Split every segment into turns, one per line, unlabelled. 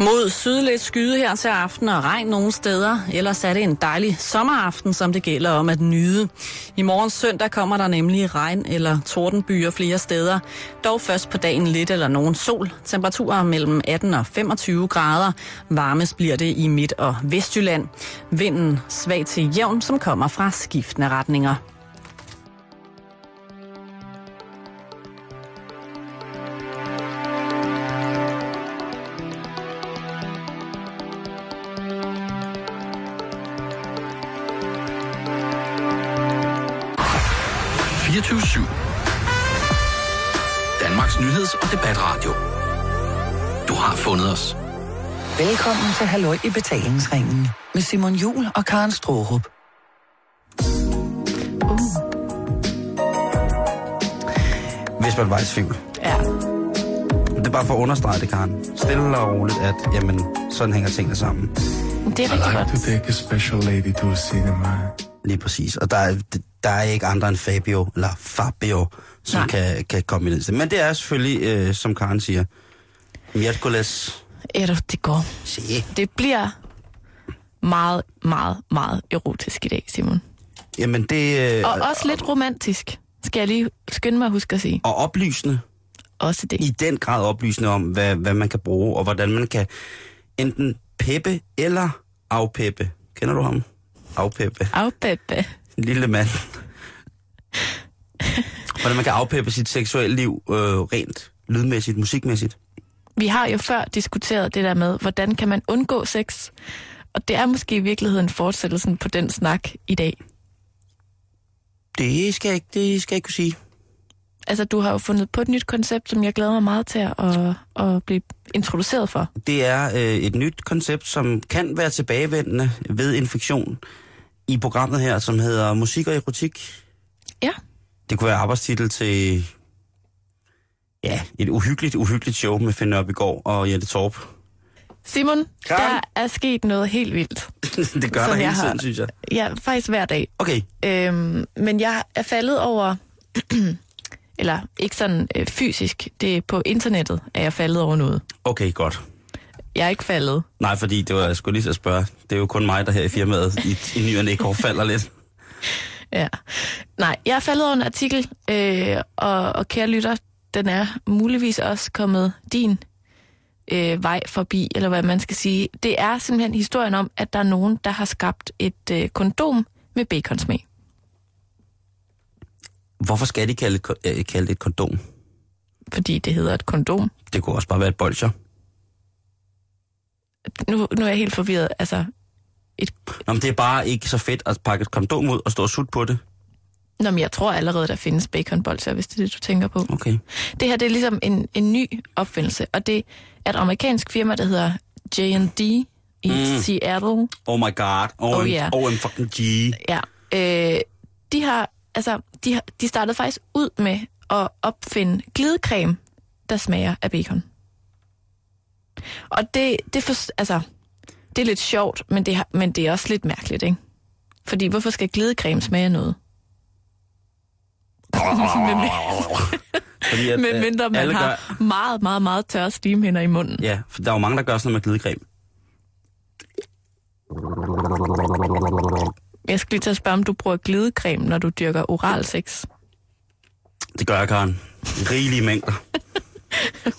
Mod syd lidt skyde her til aften og regn nogle steder. Ellers er det en dejlig sommeraften, som det gælder om at nyde. I morgen søndag kommer der nemlig regn eller tordenbyer flere steder. Dog først på dagen lidt eller nogen sol. Temperaturer mellem 18 og 25 grader. Varmest bliver det i Midt- og Vestjylland. Vinden svag til jævn, som kommer fra skiftende retninger.
Danmarks nyheds- og debatradio. Du har fundet os.
Velkommen til Halløj i betalingsringen med Simon Jul og Karen Strohrup.
hvis man var i tvivl.
Ja.
Det er bare for at understrege det, Karen. Stille og roligt, at jamen, sådan hænger tingene sammen.
Det er
I like to take a special lady to a cinema.
Lige præcis. Og der er, der er ikke andre end Fabio, eller Fabio, som
Nej.
kan, kan komme ind i det. Men det er selvfølgelig, øh, som Karen siger, Mjertkoles.
Er det går.
Se.
Det bliver meget, meget, meget erotisk i dag, Simon.
Jamen det... Øh,
Og også lidt romantisk, skal jeg lige skynde mig at huske at sige.
og oplysende.
Også det.
I den grad oplysende om, hvad, hvad man kan bruge, og hvordan man kan enten peppe eller afpeppe. Kender du ham? Afpeppe.
Afbæbbe.
En lille mand. Hvordan man kan afpeppe sit seksuelle liv øh, rent, lydmæssigt, musikmæssigt.
Vi har jo før diskuteret det der med, hvordan kan man undgå sex? Og det er måske i virkeligheden fortsættelsen på den snak i dag.
Det skal jeg ikke, det skal jeg ikke kunne sige.
Altså, du har jo fundet på et nyt koncept, som jeg glæder mig meget til at, at, at blive introduceret for.
Det er øh, et nyt koncept, som kan være tilbagevendende ved infektion i programmet her, som hedder Musik og Erotik.
Ja.
Det kunne være arbejdstitel til ja, et uhyggeligt, uhyggeligt show med Finn Nørbegaard og Jette Torp.
Simon,
Karen?
der er sket noget helt vildt.
det gør
Som
der hele
jeg har.
tiden, synes jeg.
Ja, faktisk hver dag.
Okay,
Øhm, men jeg er faldet over, eller ikke sådan øh, fysisk, det er på internettet, at jeg er faldet over noget.
okay, godt.
Jeg er ikke faldet.
Nej, fordi det var, jeg skulle lige så spørge. Det er jo kun mig, der her i firmaet i, i ny og næ går falder lidt.
Ja. Nej, jeg er faldet over en artikel, øh, og, og kære lytter, den er muligvis også kommet din øh, vej forbi, eller hvad man skal sige. Det er simpelthen historien om, at der er nogen, der har skabt et øh, kondom med baconsmag.
Hvorfor skal de kalde, det ko- øh, kalde det et kondom?
fordi det hedder et kondom.
Det kunne også bare være et bolcher.
Nu, nu er jeg helt forvirret. Altså,
Nå, men det er bare ikke så fedt at pakke et kondom ud og stå og sutte på det.
nå, men jeg tror allerede, der findes baconbolser, hvis det er det, du tænker på.
Okay.
Det her det er ligesom en, en ny opfindelse, og det er et amerikansk firma, der hedder J&D i
Mm.
mm. Seattle.
Oh my god. Oh,
Oh,
oh,
yeah.
yeah. oh I'm fucking G.
Ja. Øh, de har, altså, de, har, de startede faktisk ud med at opfinde glidecreme, der smager af bacon. Og det, det, for, altså, det er lidt sjovt, men det, har, men det er også lidt mærkeligt, ikke? Fordi hvorfor skal glidecreme smage af noget?
Fordi at,
Men
øh,
mindre man
alle
har
Gør,
meget, meget, meget tørre slimhinder i munden.
ja, for der er jo mange, der gør sådan noget med glidecreme.
Jeg skulle lige til at spørge, om du bruger glidecreme, når du dyrker oral sex.
Det gør jeg, Karen. Rigelige mængder.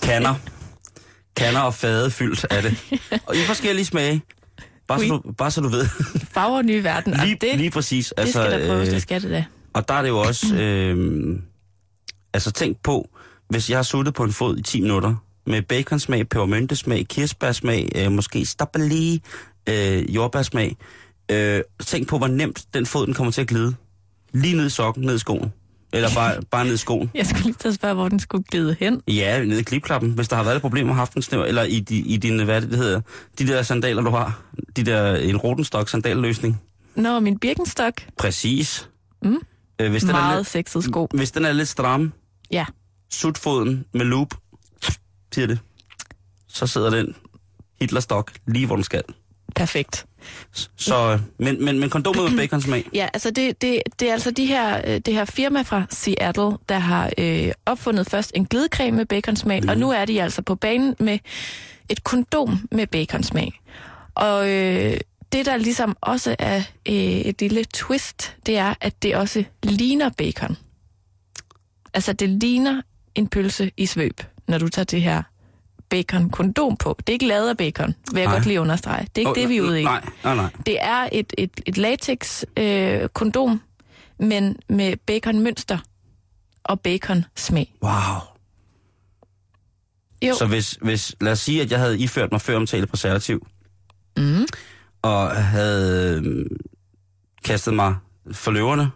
Kanner. Kanner og fade fyldt af det. Og i forskellige smage. Bare så, du, bare så du ved.
Farver nye verden, og
lige,
det,
lige øh, præcis. Altså,
det skal der prøves, det skal det da.
Og der er det jo også, øh, altså tænk på, hvis jeg har suttet på en fod i 10 minutter, med baconsmag, pebermyntesmag, kirsebærsmag, øh, måske stabbeli, øh, jordbærsmag, øh, tænk på, hvor nemt den fod den kommer til at glide. Lige ned i sokken, ned i skoen. Eller bare, bare ned i skoen.
Jeg skulle lige til at spørge, hvor den skulle glide hen.
Ja, ned i klipklappen, hvis der har været problemer, haft en snæver, eller i, di, i dine, hvad er det, det hedder, de der sandaler, du har. De der, en rotenstok sandalløsning.
Nå, min Birkenstock.
Præcis.
Mm.
Øh, hvis, den er
Meget
lidt,
sexet sko.
hvis den er lidt stram,
Ja.
sut foden med loop, siger det. Så sidder den Hitlerstok lige, hvor den skal.
Perfekt.
Så, øh, men, men, men kondomet med baconsmag.
Ja, altså det, det, det er altså de her, øh, det her firma fra Seattle, der har øh, opfundet først en glidecreme med baconsmag, mm. og nu er de altså på banen med et kondom med baconsmag. Og øh, det, der ligesom også er øh, et lille twist, det er, at det også ligner bacon. Altså det ligner en pølse i svøb, når du tager det her bacon-kondom på. Det er ikke lavet af bacon, vil jeg
Nej.
godt lige understrege. Det er ikke
Åh,
det, vi er ude i.
Nej, nej, nej.
Det er et, et, et latex-kondom, øh, kondom, men med baconmønster og bacon-smag.
Wow.
Jo,
Så hvis, hvis, lad os sige, at jeg havde iført mig før omtale præservativ,
Mhm.
mm. og havde øh, kastet mig for løverne,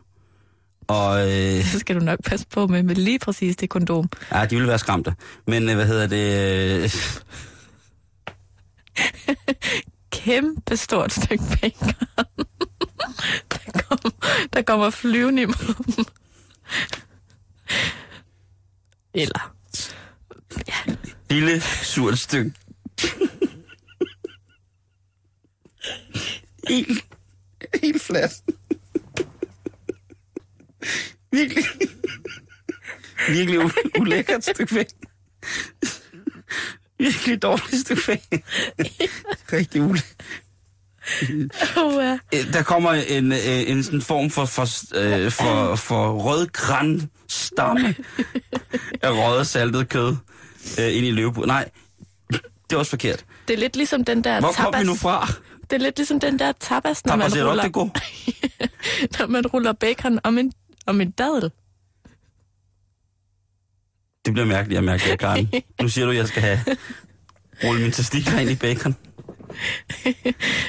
og øh,
så skal du nok passe på med, med lige præcis det kondom.
ja, de ville være skræmte. Men øh, hvad hedder det? Øh,
Kæmpe stort stykke bacon. der, kom, der kommer flyvende imod dem. Eller...
lille surt stykke. helt, helt flat. Virkelig. Virkelig u- ulækkert stykke væk. Virkelig dårligt stykke væk. Rigtig ulækkert.
Oh, ja.
Øh, Der kommer en, øh, en sådan form for, for, øh, for, for rød stamme af røget saltet kød øh, ind i løvebu. Nej, det er også forkert.
Det er lidt ligesom den der
Hvor
tapas.
kom vi nu fra?
Det er lidt ligesom den der tapas, når,
Tapas
man,
er
ruller,
rigtig god.
når man ruller bacon om en, om en dadel.
Det bliver mærkeligt at mærke det, Karen. Nu siger du, at jeg skal have rulle min testikler ind i bacon.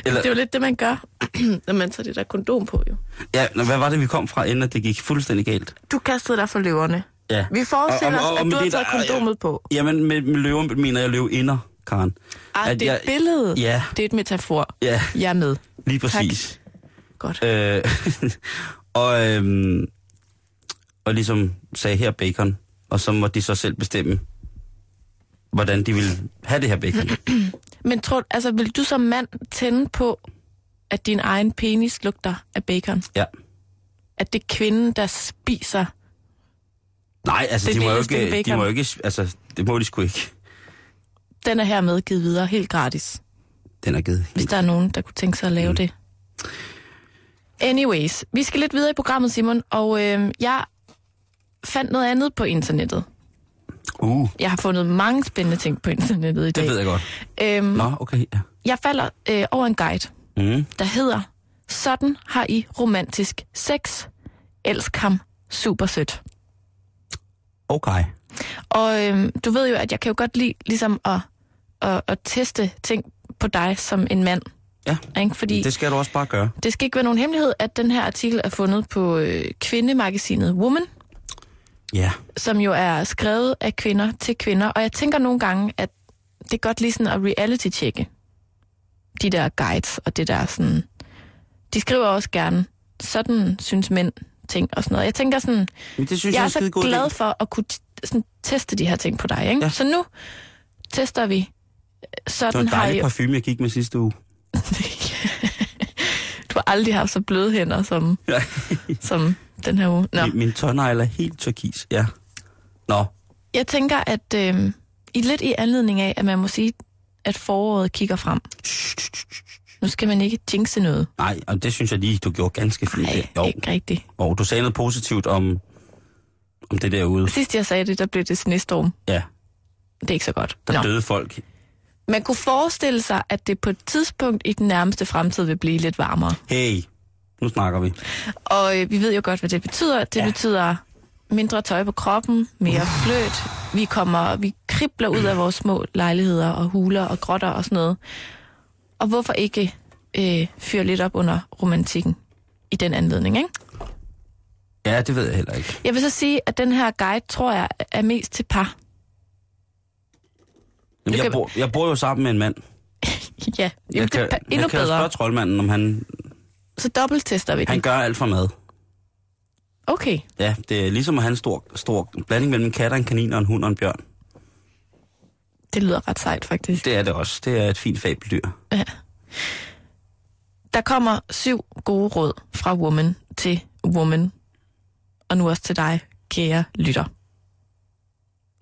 Eller,
Det er jo lidt det, man gør, når man tager det der kondom på, jo.
ja, nå, hvad var det, vi kom fra, inden at det gik fuldstændig galt?
Du kastede dig for løverne.
Ja.
Vi forestiller os, at
med
du har
det,
taget
der-
kondomet på.
Jamen, med, med løven mener jeg løveinder, Karen.
Ah,
At
det er
jeg-
et billede.
Ja,
Det er et metafor.
ja,
Jeg er med.
lige præcis.
Godt.
Øh, og, øhm, og ligesom sagde, her er bacon. Og så måtte de så selv bestemme, hvordan de ville have det her bacon.
Men tror, altså, vil du som mand tænde på, at din egen penis lugter af bacon?
Ja.
At det er kvinden, der spiser?
Nej, altså,
Det
de må,
lille
jo
stykke
ikke, de
bacon.
må jo ikke... Altså, det må de sgu ikke.
Den er hermed givet videre helt gratis,
Den er givet.
hvis der er nogen, der kunne tænke sig at lave mm. det. Anyways, vi skal lidt videre i programmet, Simon, og øh, jeg fandt noget andet på internettet.
Uh,
Jeg har fundet mange spændende ting på internettet i dag.
det ved jeg godt.
Øhm,
Nå, okay, ja.
jeg falder øh, over en guide,
Mm.
der hedder Sådan har I romantisk sex. Elsk ham. Super sødt.
Okay.
Og øhm, du ved jo, at jeg kan jo godt lide ligesom at, at, at teste ting på dig som en mand.
Ja,
Ikke? Fordi
det
det...
skal du også bare gøre.
det skal ikke være nogen hemmelighed, at den her artikel er fundet på øh, kvindemagasinet Woman,
Ja.
som jo er skrevet af kvinder til kvinder. Og jeg tænker nogle gange, at det er godt lige sådan at reality-tjekke de der guides og det der sådan... De skriver også gerne, sådan synes mænd ting og sådan noget. Jeg tænker sådan,
Men det synes
jeg
jeg
er
er
så
skide god
glad for at kunne t- sådan, teste de her ting på dig. Ikke?
Ja.
Så nu tester vi.
Det var
Sådan
en
har
dejlig
jeg...
parfume, jeg gik med sidste uge.
du har aldrig haft så bløde hænder som,
Ja.
som den her uge. Nå.
Min, min tånegle er helt turkis, ja. Nå,
Jeg tænker, at øh, i lidt i anledning af, at man må sige, at foråret kigger frem. Nu skal man ikke jinxe noget.
nej, og det synes jeg lige, du gjorde ganske fint.
Nej,
der. jo.
ikke rigtigt.
Og du sagde noget positivt om, om det derude.
Sidst jeg sagde det, der blev det snestorm.
Ja,
Det er ikke så godt.
der Nå. døde folk.
Man kunne forestille sig, at det på et tidspunkt i den nærmeste fremtid vil blive lidt varmere.
Hey, nu snakker vi.
Og øh, vi ved jo godt, hvad det betyder. Det ja. betyder mindre tøj på kroppen, mere fløt. Vi kommer, vi kribler ud af vores små lejligheder og huler og grotter og sådan noget. Og hvorfor ikke øh, fyre lidt op under romantikken i den anledning, ikke?
Ja, det ved jeg heller ikke.
Jeg vil så sige, at den her guide, tror jeg, er mest til par.
Jamen, jeg,
Du kan-
bor, jeg bor jo sammen med en mand.
ja, jamen,
jeg
det er
kan,
pa- endnu
jeg kan jo
bedre.
spørge troldmanden, om han,
Så dobbelttester vi
han
den.
gør alt for mad.
Okay,
Ja, det er ligesom at have en stor, stor blanding mellem en kat og en kanin og en hund og en bjørn.
det lyder ret sejt faktisk.
Det er det også. Det er et fint fabeldyr.
Der kommer syv gode råd fra Woman til Woman. Og nu også til dig, kære lytter. Og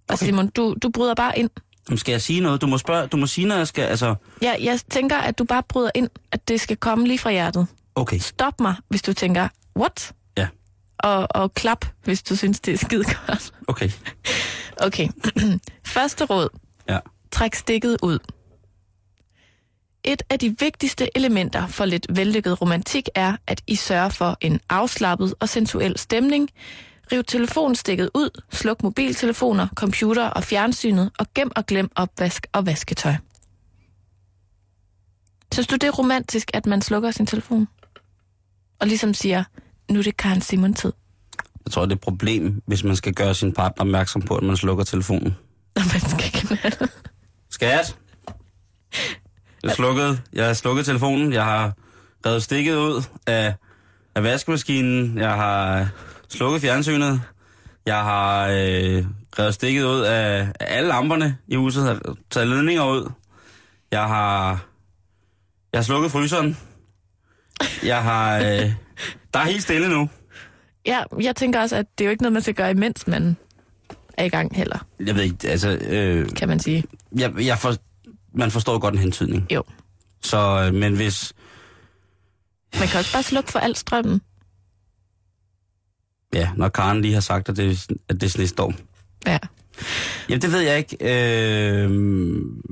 Okay.
Simon, du, du bryder bare ind.
Jamen, skal jeg sige noget? Du må spørge, du må sige, når jeg skal, altså...
Ja, jeg tænker, at du bare bryder ind, at det skal komme lige fra hjertet.
Okay,
Stop mig, hvis du tænker, what?
Ja.
Og, og klap, hvis du synes, det er skide godt.
okay,
Okay. Første råd.
ja.
Træk stikket ud. Et af de vigtigste elementer for lidt vellykket romantik er, at I sørger for en afslappet og sensuel stemning. Riv telefonstikket ud, sluk mobiltelefoner, computer og fjernsynet, og gem og glem opvask og vasketøj. Synes du, det er romantisk, at man slukker sin telefon? Og ligesom siger, nu er det Karen Simon tid.
Jeg tror, det er et problem, hvis man skal gøre sin partner opmærksom på, at man slukker telefonen.
Når man skal knalde.
Skat! Jeg har slukket, jeg har slukket telefonen. Jeg har revet stikket ud af, af vaskemaskinen. Jeg har slukket fjernsynet. Jeg har øh, revet stikket ud af, af alle lamperne i huset. Jeg har taget ledninger ud. Jeg har, jeg har slukket fryseren. Jeg har... Øh, der er helt stille nu.
Ja, jeg tænker også, at det er jo ikke noget, man skal gøre, imens man er i gang heller.
Jeg ved ikke, altså... Øh,
kan man sige.
jeg, jeg for, man forstår godt en hentydning.
Jo.
Så, øh, men hvis,
Man kan også bare slukke for al strømmen.
ja, når Karen lige har sagt, at det, at det er snestorm.
Ja.
Jamen, det ved jeg ikke. Øh, jamen,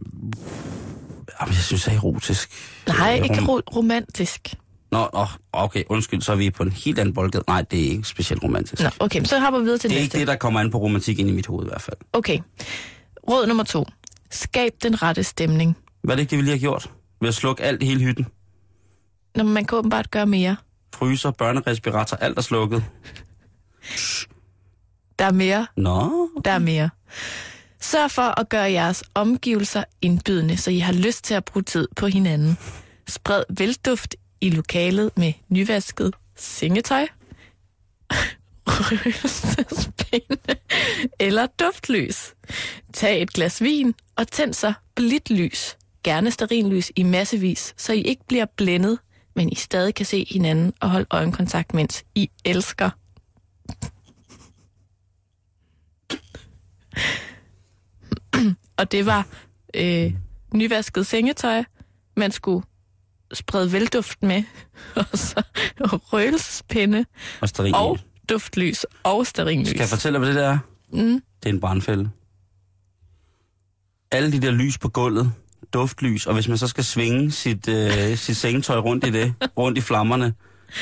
jeg synes, det er erotisk.
Nej,
Øh,
ikke
rom-
ro- romantisk.
Nå, nå, okay, undskyld, så er vi på en helt anden boldgade. Nej, det er ikke specielt romantisk.
Nå, okay, men så hopper vi videre til
det er
næste.
ikke det, der kommer an på romantik ind i mit hoved i hvert fald.
Okay. Råd nummer to. Skab den rette stemning.
Hvad er det ikke, det, vi lige har gjort? Ved at slukke alt i hele hytten.
Når man kan åbenbart gøre mere.
Fryser, børnerespirator, alt er slukket.
Der er mere,
Nå,
der er mere. Sørg for at gøre jeres omgivelser indbydende, så I har lyst til at bruge tid på hinanden. Spred velduft i lokalet med nyvasket sengetøj, røgelsespinde eller duftlys. Tag et glas vin og tænd så blidt lys, gerne stearinlys i massevis, så I ikke bliver blændet, men I stadig kan se hinanden og holde øjenkontakt, mens I elsker. og det var øh, nyvasket sengetøj, man skulle sprede velduft med, og så røgelsespinde,
og sterin.
og duftlys og
Skal jeg
stearinlys.
fortælle, dig, hvad det der er?
Mm.
Det er en brandfælde. Alle de der lys på gulvet, duftlys, og hvis man så skal svinge sit, øh, sit sengetøj rundt i det, rundt i flammerne,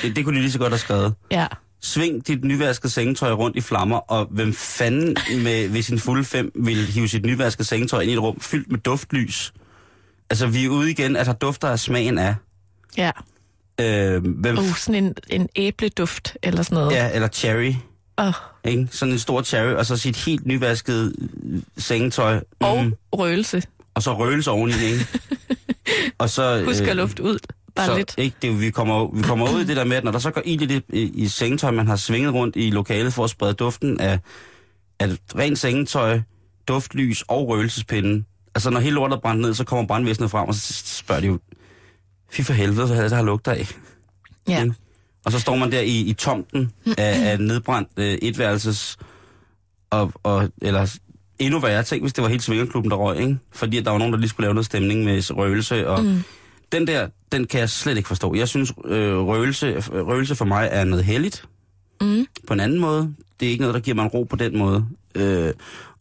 det, det kunne de lige så godt have skrevet.
Ja.
Sving dit nyvaskede sengetøj rundt i flammer, og hvem fanden med, ved sin fulde fem vil hive sit nyvaskede sengetøj ind i et rum fyldt med duftlys? Altså, vi er ude igen, at der dufter af smagen af.
ja.
Øh, hvem,
Uh, sådan en, en æbleduft eller sådan noget.
ja, eller cherry,
Og,
ikke? Sådan en stor cherry, og så sit helt nyvaskede øh, sengetøj. Mm.
og røgelse.
og så røgelse oveni, ikke? og så...
Husk at lufte ud. Bare
Øh, så,
lidt.
Ikke, det, er jo- vi, kommer, jo- vi kommer ud i det der med, at når der så går ild i det i, i sengetøj, man har svinget rundt i lokalet for at sprede duften af, af rent sengetøj, duftlys og røgelsespinden. Altså når hele lortet er brændt ned, så kommer brandvæsenet frem, og så spørger de jo, fy for helvede, hvad er det, der har lugter af?
Ja.
Ikke? Og så står man der i, i tomten af, af nedbrændt øh, etværelses, og, og, eller endnu værre ting, hvis det var helt svingerklubben, der røg, ikke? Fordi at der var nogen, der lige skulle lave noget stemning med røgelse, og mm. den der, den kan jeg slet ikke forstå. Jeg synes, øh, røgelse, røgelse for mig er noget heldigt,
Mm.
på en anden måde. Det er ikke noget, der giver mig en ro på den måde. Øh,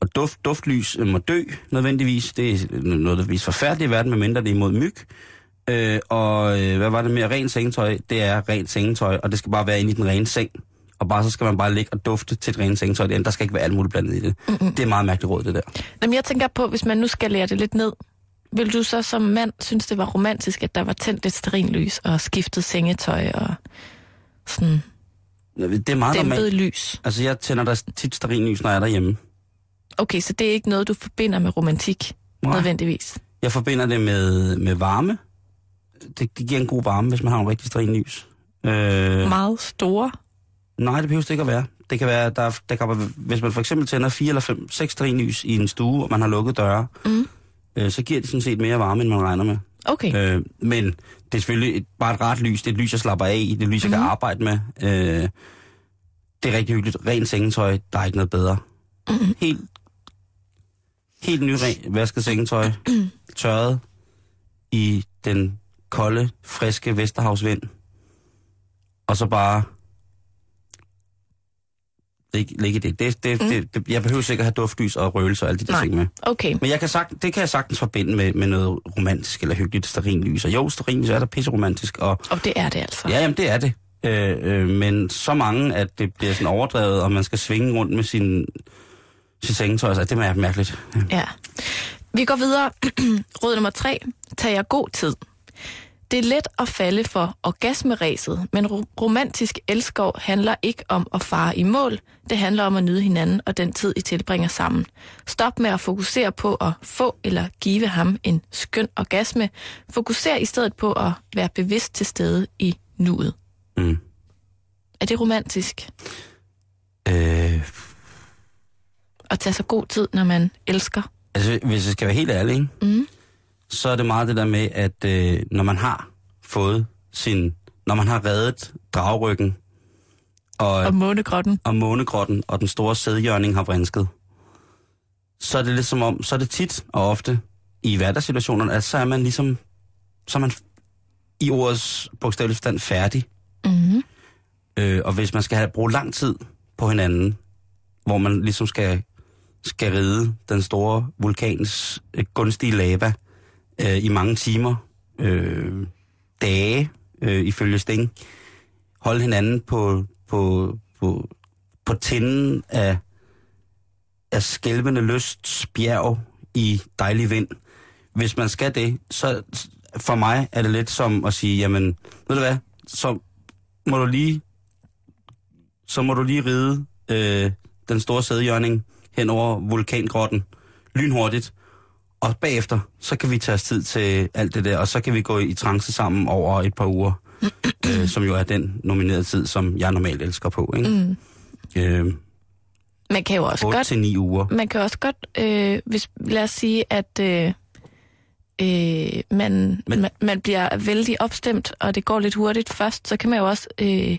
og duft, duftlys øh, må dø, nødvendigvis. Det er nødvendigvis forfærdeligt i verden, medmindre det er imod myg. Øh, og øh, hvad var det mere? Rent sengetøj, det er rent sengetøj, og det skal bare være inde i den rene seng. Og bare så skal man bare ligge og dufte til et rent sengetøj. derinde. Der skal ikke være alt muligt blandet i det. Mm-hmm. Det er meget mærkeligt råd, det der.
Jamen, jeg tænker på, hvis man nu skal lære det lidt ned, vil du så som mand synes, det var romantisk, at der var tændt et sterinlys og skiftet sengetøj og sådan
Det er meget
dæmpet
normalt.
lys?
Altså, jeg tænder der tit stearinlys, når jeg er derhjemme.
Okay, så det er ikke noget, du forbinder med romantik,
Nej.
nødvendigvis.
Jeg forbinder det med, med varme. Det, det giver en god varme, hvis man har en rigtig stearinlys. Øh,
Meget store.
Nej, det behøver det ikke at være. Det kan være, der, er- der kan, være- hvis man for eksempel tænder fire eller fem, seks lys i en stue, og man har lukket døre,
Mm.
øh, så giver det sådan set mere varme, end man regner med.
Okay.
Øh, men det er selvfølgelig et, bare et rart lys. Det er et lys, jeg slapper af i. Det er et lys, jeg mm-hmm. kan arbejde med. Øh, det er rigtig hyggeligt. Rent sengetøj, der er ikke noget bedre. Mm-hmm. Helt, helt ny ren, vasket sengetøj. Tørret i den kolde, friske Vesterhavsvind. Og så bare ligge ligge i det. Det, det, mm. det, det. Jeg behøver sikkert have duftlys og røgelse og alle de der
Nej.
ting med.
Okay.
Men jeg kan sagt, det kan jeg sagtens forbinde med, med noget romantisk eller hyggeligt sterinlys. Og jo, sterinlys er der pisseromantisk, og
Og det er det altså.
ja, jamen, det er det. Øh, øh, men så mange, at det bliver sådan overdrevet, og man skal svinge rundt med sin, sin sengetøj, så det er mærkeligt.
Ja. Vi går videre. Råd nummer tre. Tag jer god tid. Det er let at falde for orgasmeræset, men ro- romantisk elskov handler ikke om at fare i mål. Det handler om at nyde hinanden og den tid, I tilbringer sammen. Stop med at fokusere på at få eller give ham en skøn orgasme. Fokuser i stedet på at være bevidst til stede i nuet.
Mm.
Er det romantisk
Øh,
at tage så god tid, når man elsker?
Altså, hvis jeg skal være helt ærlig, ikke? Mm. så er det meget det der med, at øh, når man har fået sin... Når man har reddet dragryggen, og,
Og månegrotten?
og månegrotten og den store sædjørning har vrinsket, så er det lidt som om, så er det tit og ofte i hverdagssituationerne, at så er man ligesom, så er man i ordets bogstavelige forstand færdig.
Mm-hmm.
Øh, og hvis man skal have bruge lang tid på hinanden, hvor man ligesom skal, skal ride den store vulkans øh, gunstige lava øh, i mange timer, øh, dage øh, ifølge Sting, holde hinanden på, på, på, på tinden af, af skælvende lysts bjerg i dejlig vind. Hvis man skal det, så for mig er det lidt som at sige, jamen, ved du hvad, så må du lige så må du lige ride øh, den store sædjørning hen over vulkangrotten lynhurtigt. Og bagefter, så kan vi tage os tid til alt det der, og så kan vi gå i trance sammen over et par uger, øh, som jo er den nominerede tid, som jeg normalt elsker på. Ikke? Mm. Øh,
Man kan jo også godt Mm.
8-9 uger.
man kan også godt, øh, hvis, lad os sige, at øh, øh, man,
Men-
man, man bliver vældig opstemt, og det går lidt hurtigt først, så kan man jo også, øh,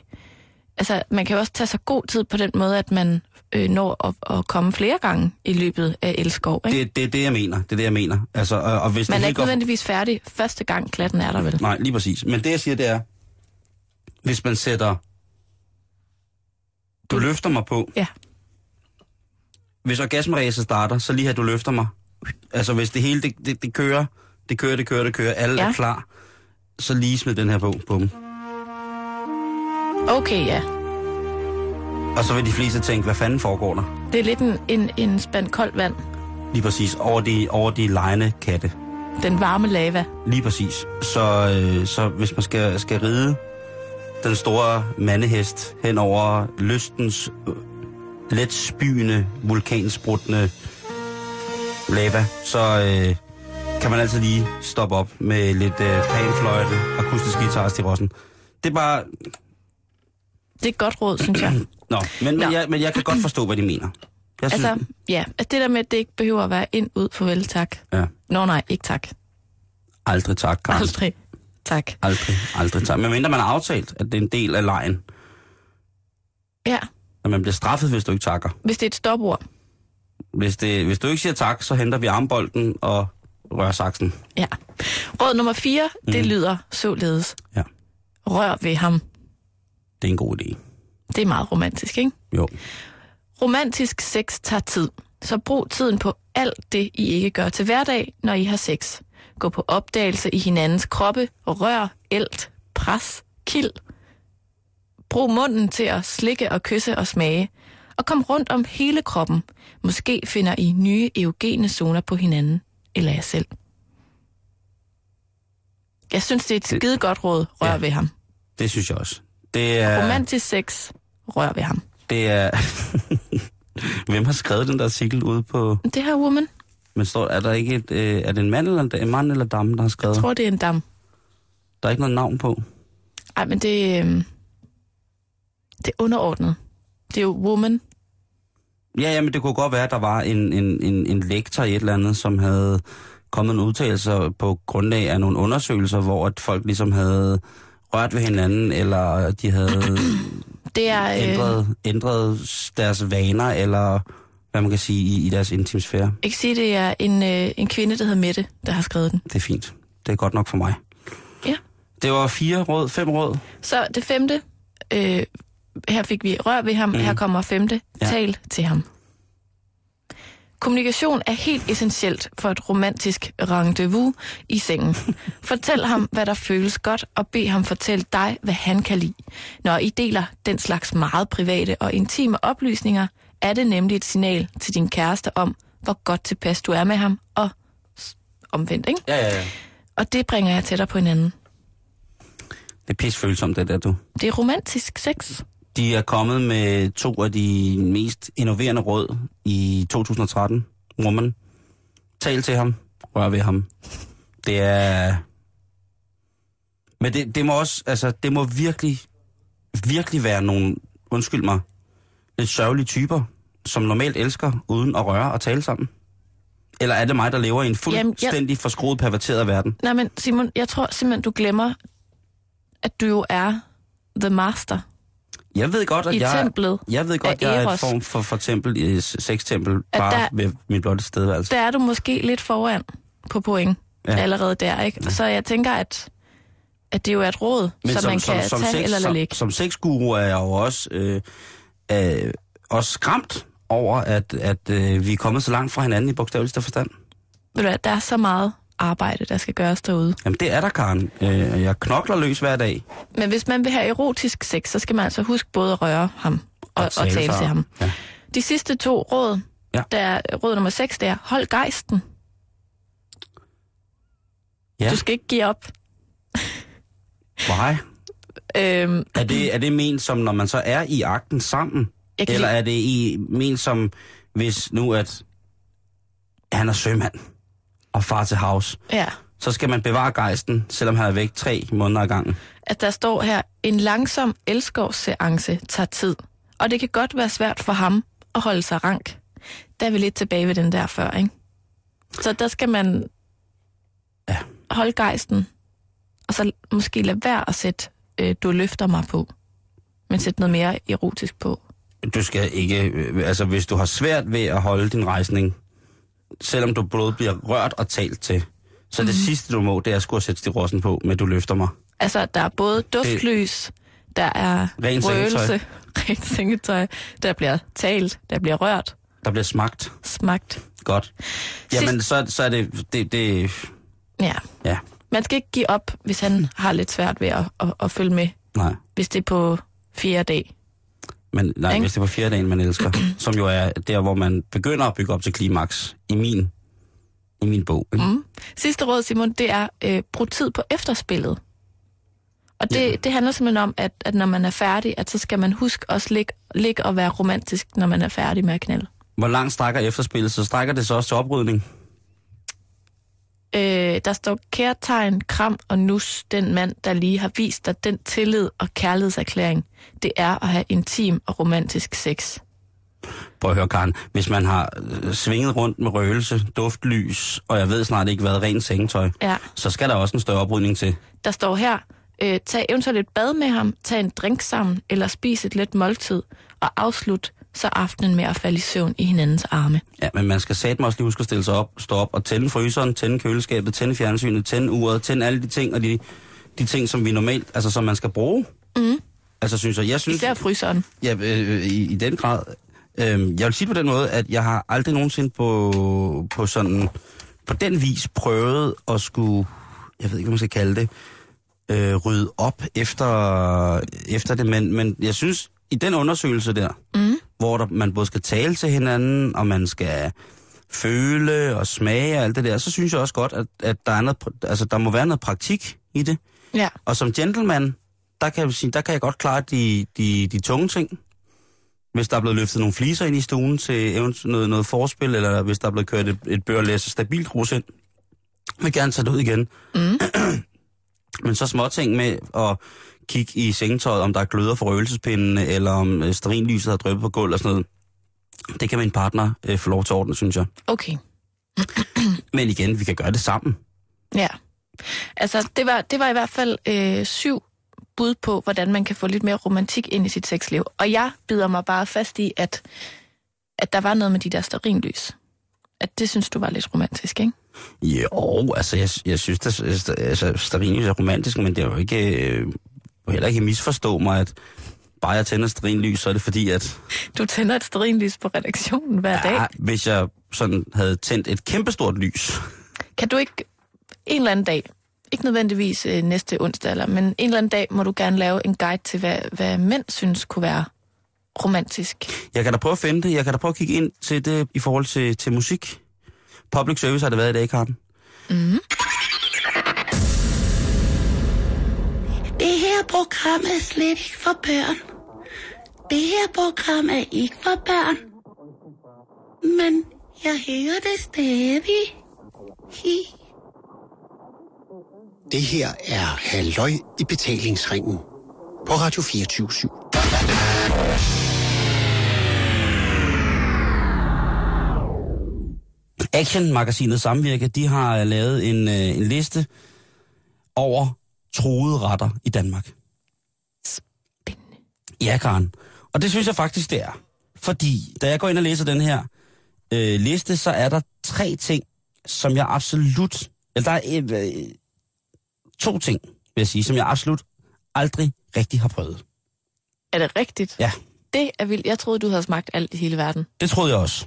altså man kan jo også tage sig god tid på den måde, at man øh, når at, at komme flere gange i løbet af elskov. Ikke?
Det er det, er det, jeg mener. Det er det, jeg mener. Altså, og, og hvis
man
det
er
helt
ikke
går-
nødvendigvis færdig første gang klatten er der vel.
Nej, lige præcis. Men det, jeg siger, det er, hvis man sætter... Du løfter mig på,
Ja,
hvis orgasmeræset starter, så lige her, du løfter mig. Altså, hvis det hele, det, det, det kører, det kører, det kører, det kører, alle ja.
Ja.
er klar, så lige smid den her på, bum.
okay ja.
Og så vil de fleste tænke, hvad fanden foregår der?
Det er lidt en, en, en spand koldt vand,
Lige præcis, over de, over de lejende katte.
den varme lava.
Lige præcis. Så, øh, så hvis man skal, skal ride den store mandehest hen over lystens øh, let spyende, vulkansprutende lava, så øh, kan man altid lige stoppe op med lidt øh, panfløjte, akustisk guitar til rossen. Det er bare...
Det er et godt råd, synes jeg.
Nå, men,
Nå.
men, jeg, men jeg kan godt forstå, hvad de mener. Jeg synes,
Altså,
altså...
ja, altså det der med, at det ikke behøver at være ind, ud, farvel, tak.
Ja,
Nå nej, ikke tak.
aldrig tak, Karen.
Aldrig. Tak.
Aldrig, aldrig tak. Men mindre man har aftalt, at det er en del af lejen,
Ja,
at man bliver straffet, hvis du ikke takker.
hvis det er et stopord.
Hvis, det, hvis du ikke siger tak, så henter vi armbolden og rører saksen.
Ja. Råd nummer 4, mm. det lyder således.
Ja.
Rør ved ham.
Det er en god idé.
Det er meget romantisk, ikke?
Jo.
Romantisk sex tager tid, så brug tiden på alt det, I ikke gør til hverdag, når I har sex. Gå på opdagelse i hinandens kroppe, rør, elt, pres, kild. Brug munden til at slikke og kysse og smage. Og kom rundt om hele kroppen. Måske finder I nye eugene zoner på hinanden, eller jer selv. Jeg synes, det er et skide godt råd. Rør
Ja.
ja. ved ham.
Det synes jeg også. Det er...
Romantisk sex. Rør ved ham.
Det er... Hvem har skrevet den der artikel ude på...
Det her woman,
Men står, er der ikke et... Øh, er det en mand eller en, en mand eller dame, der har skrevet?
tror det er en dam.
Der er ikke noget navn på.
Ej, men det, øh, det er underordnet. Det er jo woman.
Ja, ja, men det kunne godt være, at der var en, en, en, en lektor i et eller andet, som havde kommet nogle udtalelser på grundlag af nogle undersøgelser, hvor at folk ligesom havde rørt ved hinanden, eller de havde
Det er... Øh,
ændret, ændret deres vaner, eller hvad man kan sige, i, i deres intimsfære.
ikke sige, det er en, øh, en kvinde, der hedder Mette, der har skrevet den.
Det er fint. Det er godt nok for mig.
Ja.
Det var fire råd, fem råd.
Så det femte, øh, her fik vi rør ved ham, mm. her kommer femte,
Ja.
ja. tal til ham. Kommunikation er helt essentielt for et romantisk rendezvous i sengen. Fortæl ham, hvad der føles godt, og bed ham fortælle dig, hvad han kan lide. Når I deler den slags meget private og intime oplysninger, er det nemlig et signal til din kæreste om, hvor godt tilpas du er med ham, og s- omvendt, ikke?
Ja, ja, ja.
Og det bringer jer tættere på hinanden.
Det er pisfølsomt, det der, du.
Det er romantisk sex.
De er kommet med to af de mest innoverende råd i 2013. Woman. Tal til ham. Rør ved ham. Det er... Men det, det må også, altså, det må virkelig, virkelig være nogle, undskyld mig, lidt sørgelige typer, som normalt elsker uden at røre og tale sammen. Eller er det mig, der lever i en
jeg-
fuldstændig Jamen, forskruet, perverteret verden?
Nej, men Simon, jeg tror simpelthen, du glemmer, at du jo er the master
Jeg ved godt, at
i
jeg...
templet.
Jeg ved godt,
af
jeg er et
Eros.
form for, for tempel, øh, sextempel,
At
bare
der-
ved min blotte stedværelse.
Der er du måske lidt foran på point
Ja.
ja. allerede der, ikke? Så jeg tænker, at, at det jo er et råd, som, man kan tage eller lade
som,
ligge.
som sexguru er jeg jo også, øh, øh, også skræmt over, at, at øh, vi er kommet så langt fra hinanden i bogstaveligste forstand.
Ved du hvad, der er så meget arbejde, der skal gøres derude.
Jamen det er der, Karen. Øh, jeg knokler løs hver dag.
Men hvis man vil have erotisk sex, så skal man altså huske både at røre ham og, og, tale,
for-
til ham.
Ja.
De sidste to råd,
Ja.
ja. der er råd nummer 6, det er, hold gejsten.
Ja.
Du skal ikke give op.
Why?
Øhm,
Er det, er det ment som, når man så er i akten sammen?
jeg kan
Eller
lide-
er det i, ment som, hvis nu at han er sømand og far til house?
ja.
så skal man bevare gejsten, selvom han er væk tre måneder ad gangen.
at der står her, en langsom elskovsseance tager tid, og det kan godt være svært for ham at holde sig rank. Der er vi lidt tilbage ved den der før, ikke? Så der skal man
Ja.
holde gejsten, og så måske lade være at sætte, øh, du løfter mig på, men sætte noget mere erotisk på.
Du skal ikke, øh, altså hvis du har svært ved at holde din rejsning, selvom du både bliver rørt og talt til, så det sidste du må, det er sgu at sætte stirossen på, men du løfter mig.
Altså, der er både duftlys, der er
Rent sengetøj.
røgelse, rent sengetøj, der bliver talt, der bliver rørt,
Der bliver smagt.
smagt.
Godt. Jamen, så, så er det, det, det,
Ja.
ja,
man skal ikke give op, hvis han har lidt svært ved at, at, at følge med,
nej.
hvis det er på fjerde dag.
Men nej,
Ikke?
hvis det er på fjerde dagen, man elsker, som jo er der, hvor man begynder at bygge op til klimaks, i min, i min bog. Ikke? Mm.
Sidste råd, Simon, det er øh, brug tid på efterspillet. Og det, ja. det handler simpelthen om, at, at når man er færdig, at så skal man huske også ligge, ligge og være romantisk, når man er færdig med at knalde.
Hvor langt strækker efterspillet, så strækker det så også til oprydning.
Øh, der står kærtegn, kram og nus, den mand, der lige har vist dig den tillid og kærlighedserklæring. Det er at have intim og romantisk sex.
Prøv at høre, Karen. Hvis man har øh, svinget rundt med røgelse, duftlys, og jeg ved snart ikke hvad, rent sengetøj,
Ja.
så skal der også en større oprydning til.
Der står her, øh, tag eventuelt et bad med ham, tag en drink sammen, eller spis et let måltid, og afslut så aftenen med at falde i søvn i hinandens arme.
Ja, men man skal satme også lige huske at stille sig op, stå op og tænde fryseren, tænde køleskabet, tænde fjernsynet, tænde uret, tænde alle de ting, og de, de ting, som vi normalt, altså som man skal bruge. Mm. Altså synes jeg, jeg synes,
Mhm. Især fryseren.
Ja, øh, øh, i, i den grad. Øhm, jeg vil sige på den måde, at jeg har aldrig nogensinde på, på sådan på den vis prøvet at skulle, jeg ved ikke, hvad man skal kalde det, øh, rydde op efter, efter det, men, men jeg synes, i den undersøgelse der, mm. hvor der, man både skal tale til hinanden, og man skal føle og smage og alt det der, så synes jeg også godt, at, at der, er noget, pr- altså, der må være noget praktik i det.
Ja.
Og som gentleman, der kan jeg, sige, der kan jeg godt klare de, de, de tunge ting. Hvis der er blevet løftet nogle fliser ind i stuen til event- noget, noget forspil, eller hvis der er blevet kørt et, et børlæs stabilt rus ind, vil jeg gerne tage det ud igen. Mm. Men så små ting med at kigge i sengetøjet, om der er gløder for røgelsespindene, eller om øh, sterinlyset har drøbet på gulvet og sådan noget. Det kan min partner øh, få lov til at ordne, synes jeg.
Okay.
Men igen, vi kan gøre det sammen.
Ja. Altså, det var, det var i hvert fald øh, syv bud på, hvordan man kan få lidt mere romantik ind i sit sexliv. Og jeg bider mig bare fast i, at, at der var noget med de der sterinlys. At det synes du var lidt romantisk, ikke?
Jo, altså, jeg, jeg synes, at altså, stearinlys er romantisk, men det er jo ikke... Øh, du må heller ikke misforstå mig, at bare jeg tænder stearinlys, så er det fordi, at
Du tænder et sterinlys på redaktionen hver ja. dag.
ja, hvis jeg sådan havde tændt et kæmpestort lys,
Kan du ikke en eller anden dag, ikke nødvendigvis øh, næste onsdag, eller, men en eller anden dag må du gerne lave en guide til, hvad, hvad mænd synes kunne være romantisk.
Jeg kan da prøve at finde det. Jeg kan da prøve at kigge ind til det i forhold til, til musik. Public service har det været i dag, Karen.
Det her program er slet ikke for børn. Det her program er ikke for børn. Men jeg hører det stadig. Hi.
Det her er Halløj i betalingsringen på Radio 24 7.
Action-magasinet Samvirke, de har lavet en, øh, en liste over troede retter i Danmark.
Spændende.
Ja, Karen. Og det synes jeg faktisk, det er. Fordi, da jeg går ind og læser den her øh, liste, så er der tre ting, som jeg absolut... Eller der er øh, øh, to ting, vil jeg sige, som jeg absolut aldrig rigtig har prøvet.
Er det rigtigt?
Ja.
Det er vildt. Jeg troede, du havde smagt alt i hele verden.
Det troede jeg også.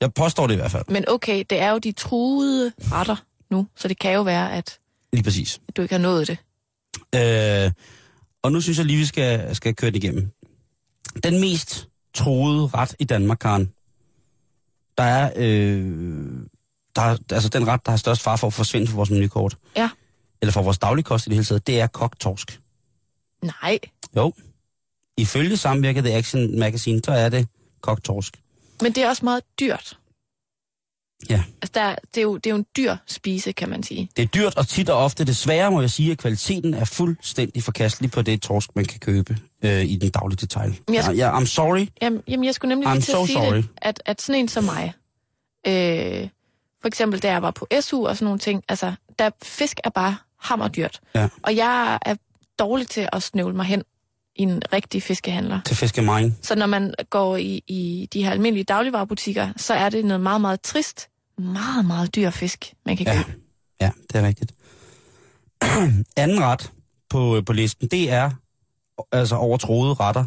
Jeg påstår det i hvert fald.
Men okay, det er jo de truede retter nu, så det kan jo være, at
Lige præcis.
du ikke har nået det.
Øh, og nu synes jeg lige, vi skal, skal køre det igennem. Den mest troede ret i Danmark, Karen, der er, øh, der er altså den ret, der har størst far for at forsvinde fra vores menukort,
Ja.
eller fra vores dagligkost i det hele taget, det er koktorsk.
Nej.
Jo. Ifølge samvirket The Action Magazine, så er det koktorsk.
Men det er også meget dyrt.
Ja.
Altså, der, er- det, er jo, det er jo en dyr spise, kan man sige.
Det er dyrt og tit og ofte desværre, må jeg sige, at kvaliteten er fuldstændig forkastelig på det torsk, man kan købe øh, i den daglige detail.
Men jeg-
Jeg... Ja, I'm sorry.
Jamen, jamen jeg skulle nemlig
I'm
lige til
so
at sige
sorry.
det, at, at sådan en som mig, øh, for eksempel da jeg var på SU og sådan nogle ting, altså, der fisk er bare hammerdyrt.
Ja.
Og jeg er dårlig til at snøvle mig hen i en rigtig fiskehandler.
Til fiskemine.
Så når man går i, i de her almindelige dagligvarerbutikker, så er det noget meget, meget trist, meget, meget dyr fisk, man kan
Ja.
købe.
ja, det er rigtigt. Anden ret på, øh, på listen, det er altså over troede retter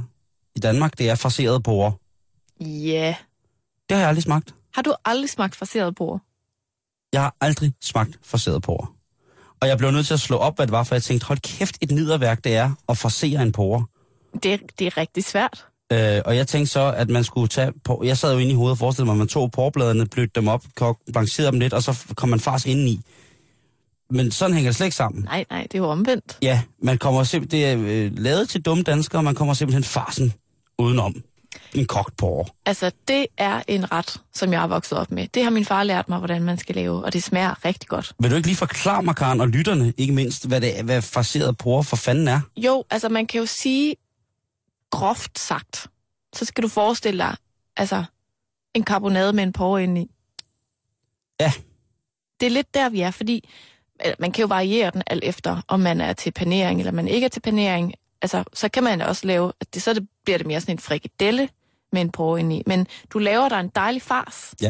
i Danmark, det er fraseret borer.
Ja. Yeah.
Det har jeg aldrig smagt.
Har du aldrig smagt fraseret bord?
Jeg har aldrig smagt fraseret porre. Og jeg blev nødt til at slå op, hvad det var, for jeg tænkte, hold kæft, et nederværk det er at frasere en porre.
Det, er- det er rigtig svært.
Øh, og jeg tænkte så, at man skulle tage... På, jeg sad jo inde i hovedet og forestillede mig, at man tog porrebladene, blødte dem op, kog, blancherede dem lidt, og så f- kom man fars indeni. Men sådan hænger det slet ikke sammen.
Nej, nej, det er jo omvendt.
Ja, man kommer simpelthen... Det er øh, lavet til dumme danskere, og man kommer simpelthen farsen udenom. En kogt porre.
Altså, det er en ret, som jeg er vokset op med. Det har min far lært mig, hvordan man skal lave, og det smager rigtig godt.
Vil du ikke lige forklare mig, Karen, og lytterne, ikke mindst, hvad, det, er- hvad farseret porre for fanden er?
Jo, altså man kan jo sige, groft sagt, så skal du forestille dig, altså, en karbonade med en porre indeni.
Ja.
Det er lidt der, vi er, fordi eller, man kan jo variere den alt efter, om man er til panering, eller man ikke er til panering. Altså, så kan man også lave, at det, så det, bliver det mere sådan en frikadelle med en porre indeni. Men du laver dig en dejlig fars
Ja,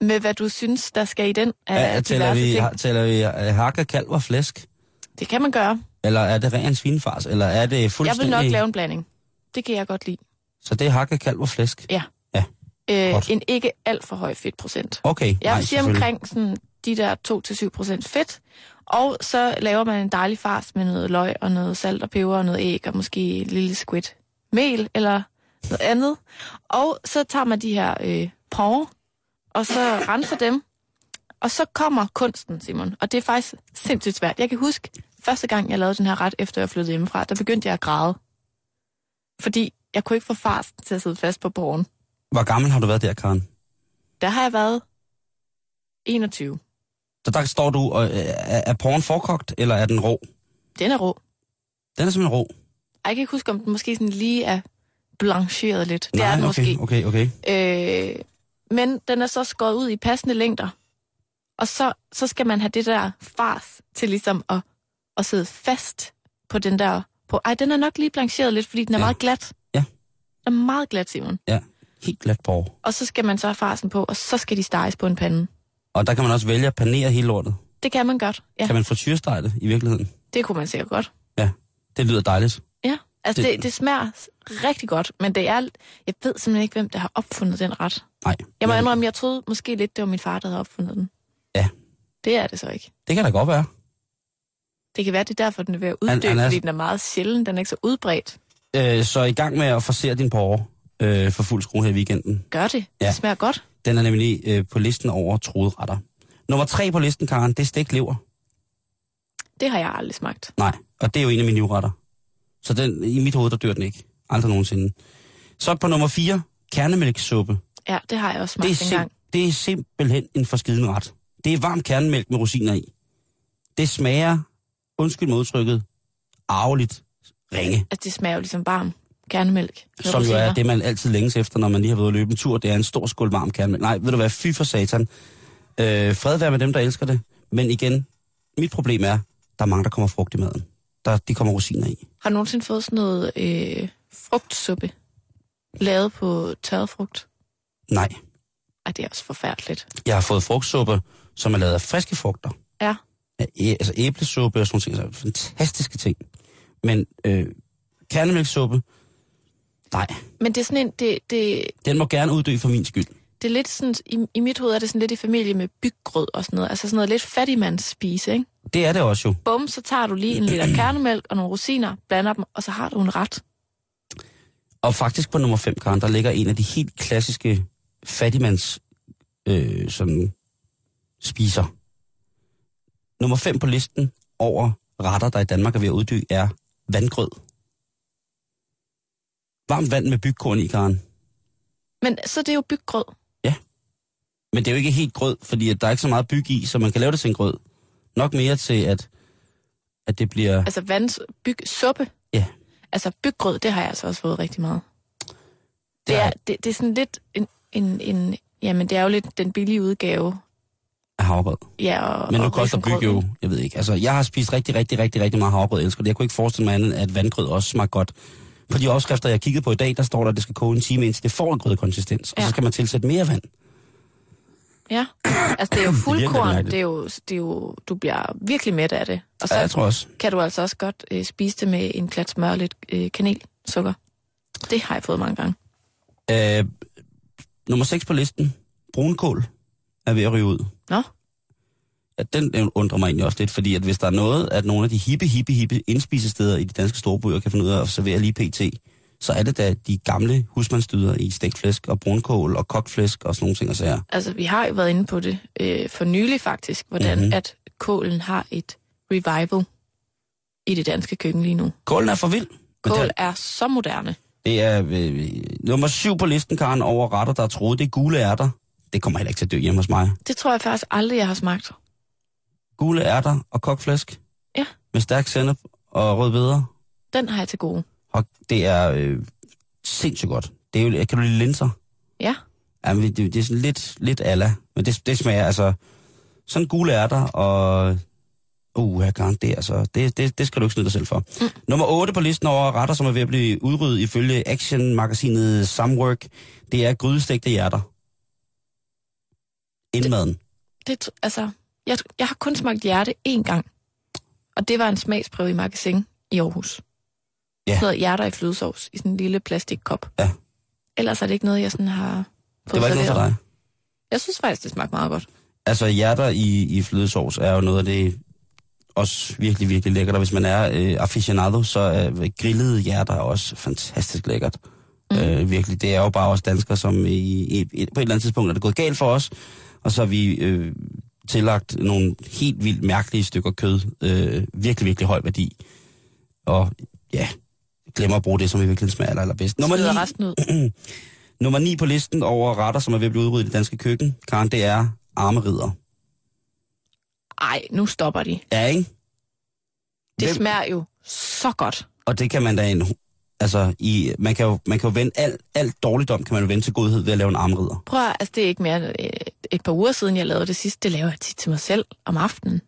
med, hvad du synes, der skal i den af
ja
ja,
tæller,
diverse
vi,
ting.
ha- tæller vi øh, hakker, kalv og flæsk?
Det kan man gøre.
Eller er det ren svinefars? Eller er det
Jeg vil
fuldstændig...
nok lave en blanding. Det kan jeg godt lide.
Så det er hakke, kalv og flæsk? Godt.
Øh, en ikke alt for høj fedtprocent.
Okay,
Jeg
nej,
vil sige
selvfølgelig.
omkring sådan, de der 2-7% fedt, og så laver man en dejlig fars med noget løg og noget salt og peber og noget æg og måske et lille squid mel eller noget andet. Og så tager man de her øh, porre, og så renser dem, og så kommer kunsten, Simon. Og det er faktisk sindssygt svært. Jeg kan huske, første gang jeg lavede den her ret, efter jeg flyttede hjemmefra, der begyndte jeg at græde. Fordi jeg kunne ikke få farsen til at sidde fast på porren.
Hvor gammel har du været der, Karen?
Der har jeg været 21.
Så der står du, og, øh, er, er porren forkogt, eller er den rå?
Den er rå.
Den er simpelthen rå.
Ej, Jeg kan ikke huske, om den måske sådan lige er blancheret lidt. Det
Nej,
er den
okay,
måske.
okay, okay.
Øh, Men den er så skåret ud i passende længder. Og så, så skal man have det der fars til ligesom at, at sidde fast på den der... På, ej, den er nok lige blancheret lidt, fordi den er
Ja.
ja. meget glat.
Ja.
Den er meget glat, Simon.
Ja, helt glat på.
Og så skal man så have farsen på, og så skal de steges på en pande.
Og der kan man også vælge at panere hele lortet.
Det kan man godt. Ja,
Ja. Kan man frityrestege det i virkeligheden?
det kunne man sikkert godt.
Ja, det lyder dejligt.
Ja, altså
Det-
det, det smager s- rigtig godt, men det er... Jeg ved simpelthen ikke, hvem der har opfundet den ret.
Nej.
Jeg må
men-
indrømme, jeg troede måske lidt, det var min far, der havde opfundet den.
Ja.
Det er det så ikke.
Det kan da godt være.
Det kan være, det er derfor, den er ved at
Han-
uddø,
han er-
fordi den er meget sjælden. Den er ikke så udbredt.
Øh, så i gang med at forsere din porre øh, for fuld skrue her i weekenden.
Gør det.
Ja.
Ja. Det smager godt.
Den er nemlig øh, på listen over troede retter. Nummer tre på listen, Karen, det er stegt lever.
Det har jeg aldrig smagt.
Nej, og det er jo en af mine livretter. Så den, i mit hoved, der dør den ikke. Aldrig nogensinde. Så på nummer 4, kernemælkssuppe.
Ja, det har jeg også
Det er,
smagt engang.
sim- det er simpelthen en forskiden ret. Det er varm kernemælk med rosiner i. Det smager, undskyld modtrykket, arveligt ringe.
Altså, det smager jo ligesom varm kernemælk. med
Som jo er
rosiner.
det, man altid længes efter, når man lige har været ude at løbe en tur. Det er en stor skål varm kernemælk. Nej, ved du hvad, fy for satan. Øh, fred være med dem, der elsker det. Men igen, mit problem er, der er mange, der kommer frugt i maden. Der, de kommer rosiner i.
Har du nogensinde fået sådan noget øh, frugtsuppe? Lavet på tørret frugt?
Nej,
Ej, det er også forfærdeligt.
jeg har fået frugtsuppe, som er lavet af friske frugter.
Ja.
Af æ- altså æblesuppe og sådan nogle ting. Altså, fantastiske ting. Men øh, kernemælkssuppe, nej,
Men det er sådan en... Det, det,
den må gerne uddø for min skyld.
det er lidt sådan... I, I mit hoved er det sådan lidt i familie med byggrød og sådan noget. Altså sådan noget lidt fattigmandsspise, ikke?
Det er det også jo.
bum, så tager du lige en liter kernemælk og nogle rosiner, blander dem, og så har du en ret.
Og faktisk på nummer 5, Karen, der ligger en af de helt klassiske fattigmands øh, sådan, spiser. Nummer 5 på listen over retter, der i Danmark er ved at uddø, er vandgrød. Varmt vand med bygkorn i, Karen.
Men så er det jo byggrød.
Men det er jo ikke helt grød, fordi at der er ikke så meget byg i, så man kan lave det til en grød. Nok mere til, at, at det bliver...
Altså vands, byg, suppe.
Ja.
Altså byggrød, det har jeg altså også fået rigtig meget.
Det
Det
har
er,
jeg.
det, det er sådan lidt en, en, en... Jamen, det er jo lidt den billige udgave.
af havregrød.
Ja, og, ligesom
Men nu
og
koster
risengrød.
byg jo, jeg ved ikke. Altså, jeg har spist rigtig, rigtig, rigtig, rigtig meget havregrød, jeg elsker det. Jeg kunne ikke forestille mig andet, at vandgrød også smager godt. På de opskrifter, jeg kiggede på i dag, der står der, at det skal koge en time, indtil det får en grødkonsistens. Ja. Og
Ja.
så skal man tilsætte mere vand.
Ja, altså det er jo fuldkorn.
mærkeligt.
det, er jo, det er jo, du bliver virkelig mæt af det. Og så
Ja, jeg tror også.
kan du altså også godt øh, spise det med en klat smør og lidt øh, kanelsukker. Det har jeg fået mange gange.
Øh, nummer 6 på listen. Brunkål er ved at ryge ud.
Nå,
Ja, den den undrer mig egentlig også lidt, fordi at hvis der er noget, at nogle af de hippe, hippe, hippe indspisesteder i de danske storbyer kan finde ud af at servere lige pt., så er det da de gamle husmandsdyder i stegflæsk og brunkål og kokflæsk og sådan nogle ting og sager.
Altså, vi har jo været inde på det øh, for nylig faktisk, hvordan
Mhm.
mm-hmm. at kålen har et revival i det danske køkken lige nu.
Kålen er for vild. men
Kål
den-
er så moderne.
Det er øh, nummer syv på listen, Karen, over retter, der er troet. Det er gule ærter. Det kommer heller ikke til at dø hjemme hos mig.
Det tror jeg faktisk aldrig, jeg har smagt.
Gule ærter og kokflæsk.
Ja.
Med stærk sennep og rødbeder.
Den har jeg til gode.
Og det er øh, sindssygt godt. Det er jo, kan du lide linser?
Ja,
Jamen, det, det er sådan lidt, lidt ala. Men det, det smager altså... Sådan gule ærter og... Uh, jeg kan det, altså. Det, det, det skal du ikke snyde dig selv for. Mm. Nummer 8 på listen over retter, som er ved at blive udryddet ifølge actionmagasinet Samwork, det er grydestegte hjerter. Indmaden.
det, tr- altså, jeg, jeg har kun smagt hjerte én gang. Og det var en smagsprøve i magasin i Aarhus.
Ja.
Sådan noget hjerter i flødesovs i sådan en lille plastikkop.
Ja.
Ellers er det ikke noget, jeg sådan har fået
Det var ikke noget for
serveret.
dig.
Jeg synes faktisk, det smagte meget godt.
Altså, hjerter i, i flødesovs er jo noget af det også virkelig, virkelig lækkert. Og hvis man er øh, aficionado, så er øh, grillede hjerter også fantastisk lækkert. Mm. Øh, virkelig, det er jo bare os danskere, som i, i, på et eller andet tidspunkt er det gået galt for os. Og så har vi øh, tillagt nogle helt vildt mærkelige stykker kød. Øh, virkelig, virkelig høj værdi. Og ja, glemmer at bruge det, som i virkeligheden smager aller, allerbedst. Nummer
Smider
9,
resten ud.
nummer 9 på listen over retter, som er ved at blive udryddet i det danske køkken, Karen, det er armerider.
Ej, nu stopper de.
Ja, ikke?
Det
Hvem-
smager jo så godt.
Og det kan man da en, Altså, i, man, kan jo, man kan jo vende alt, alt dårligdom, kan man jo vende til godhed ved at lave en armridder.
Prøv at, høre, altså det er ikke mere end øh, et par uger siden, jeg lavede det sidste. Det laver jeg tit til mig selv om aftenen.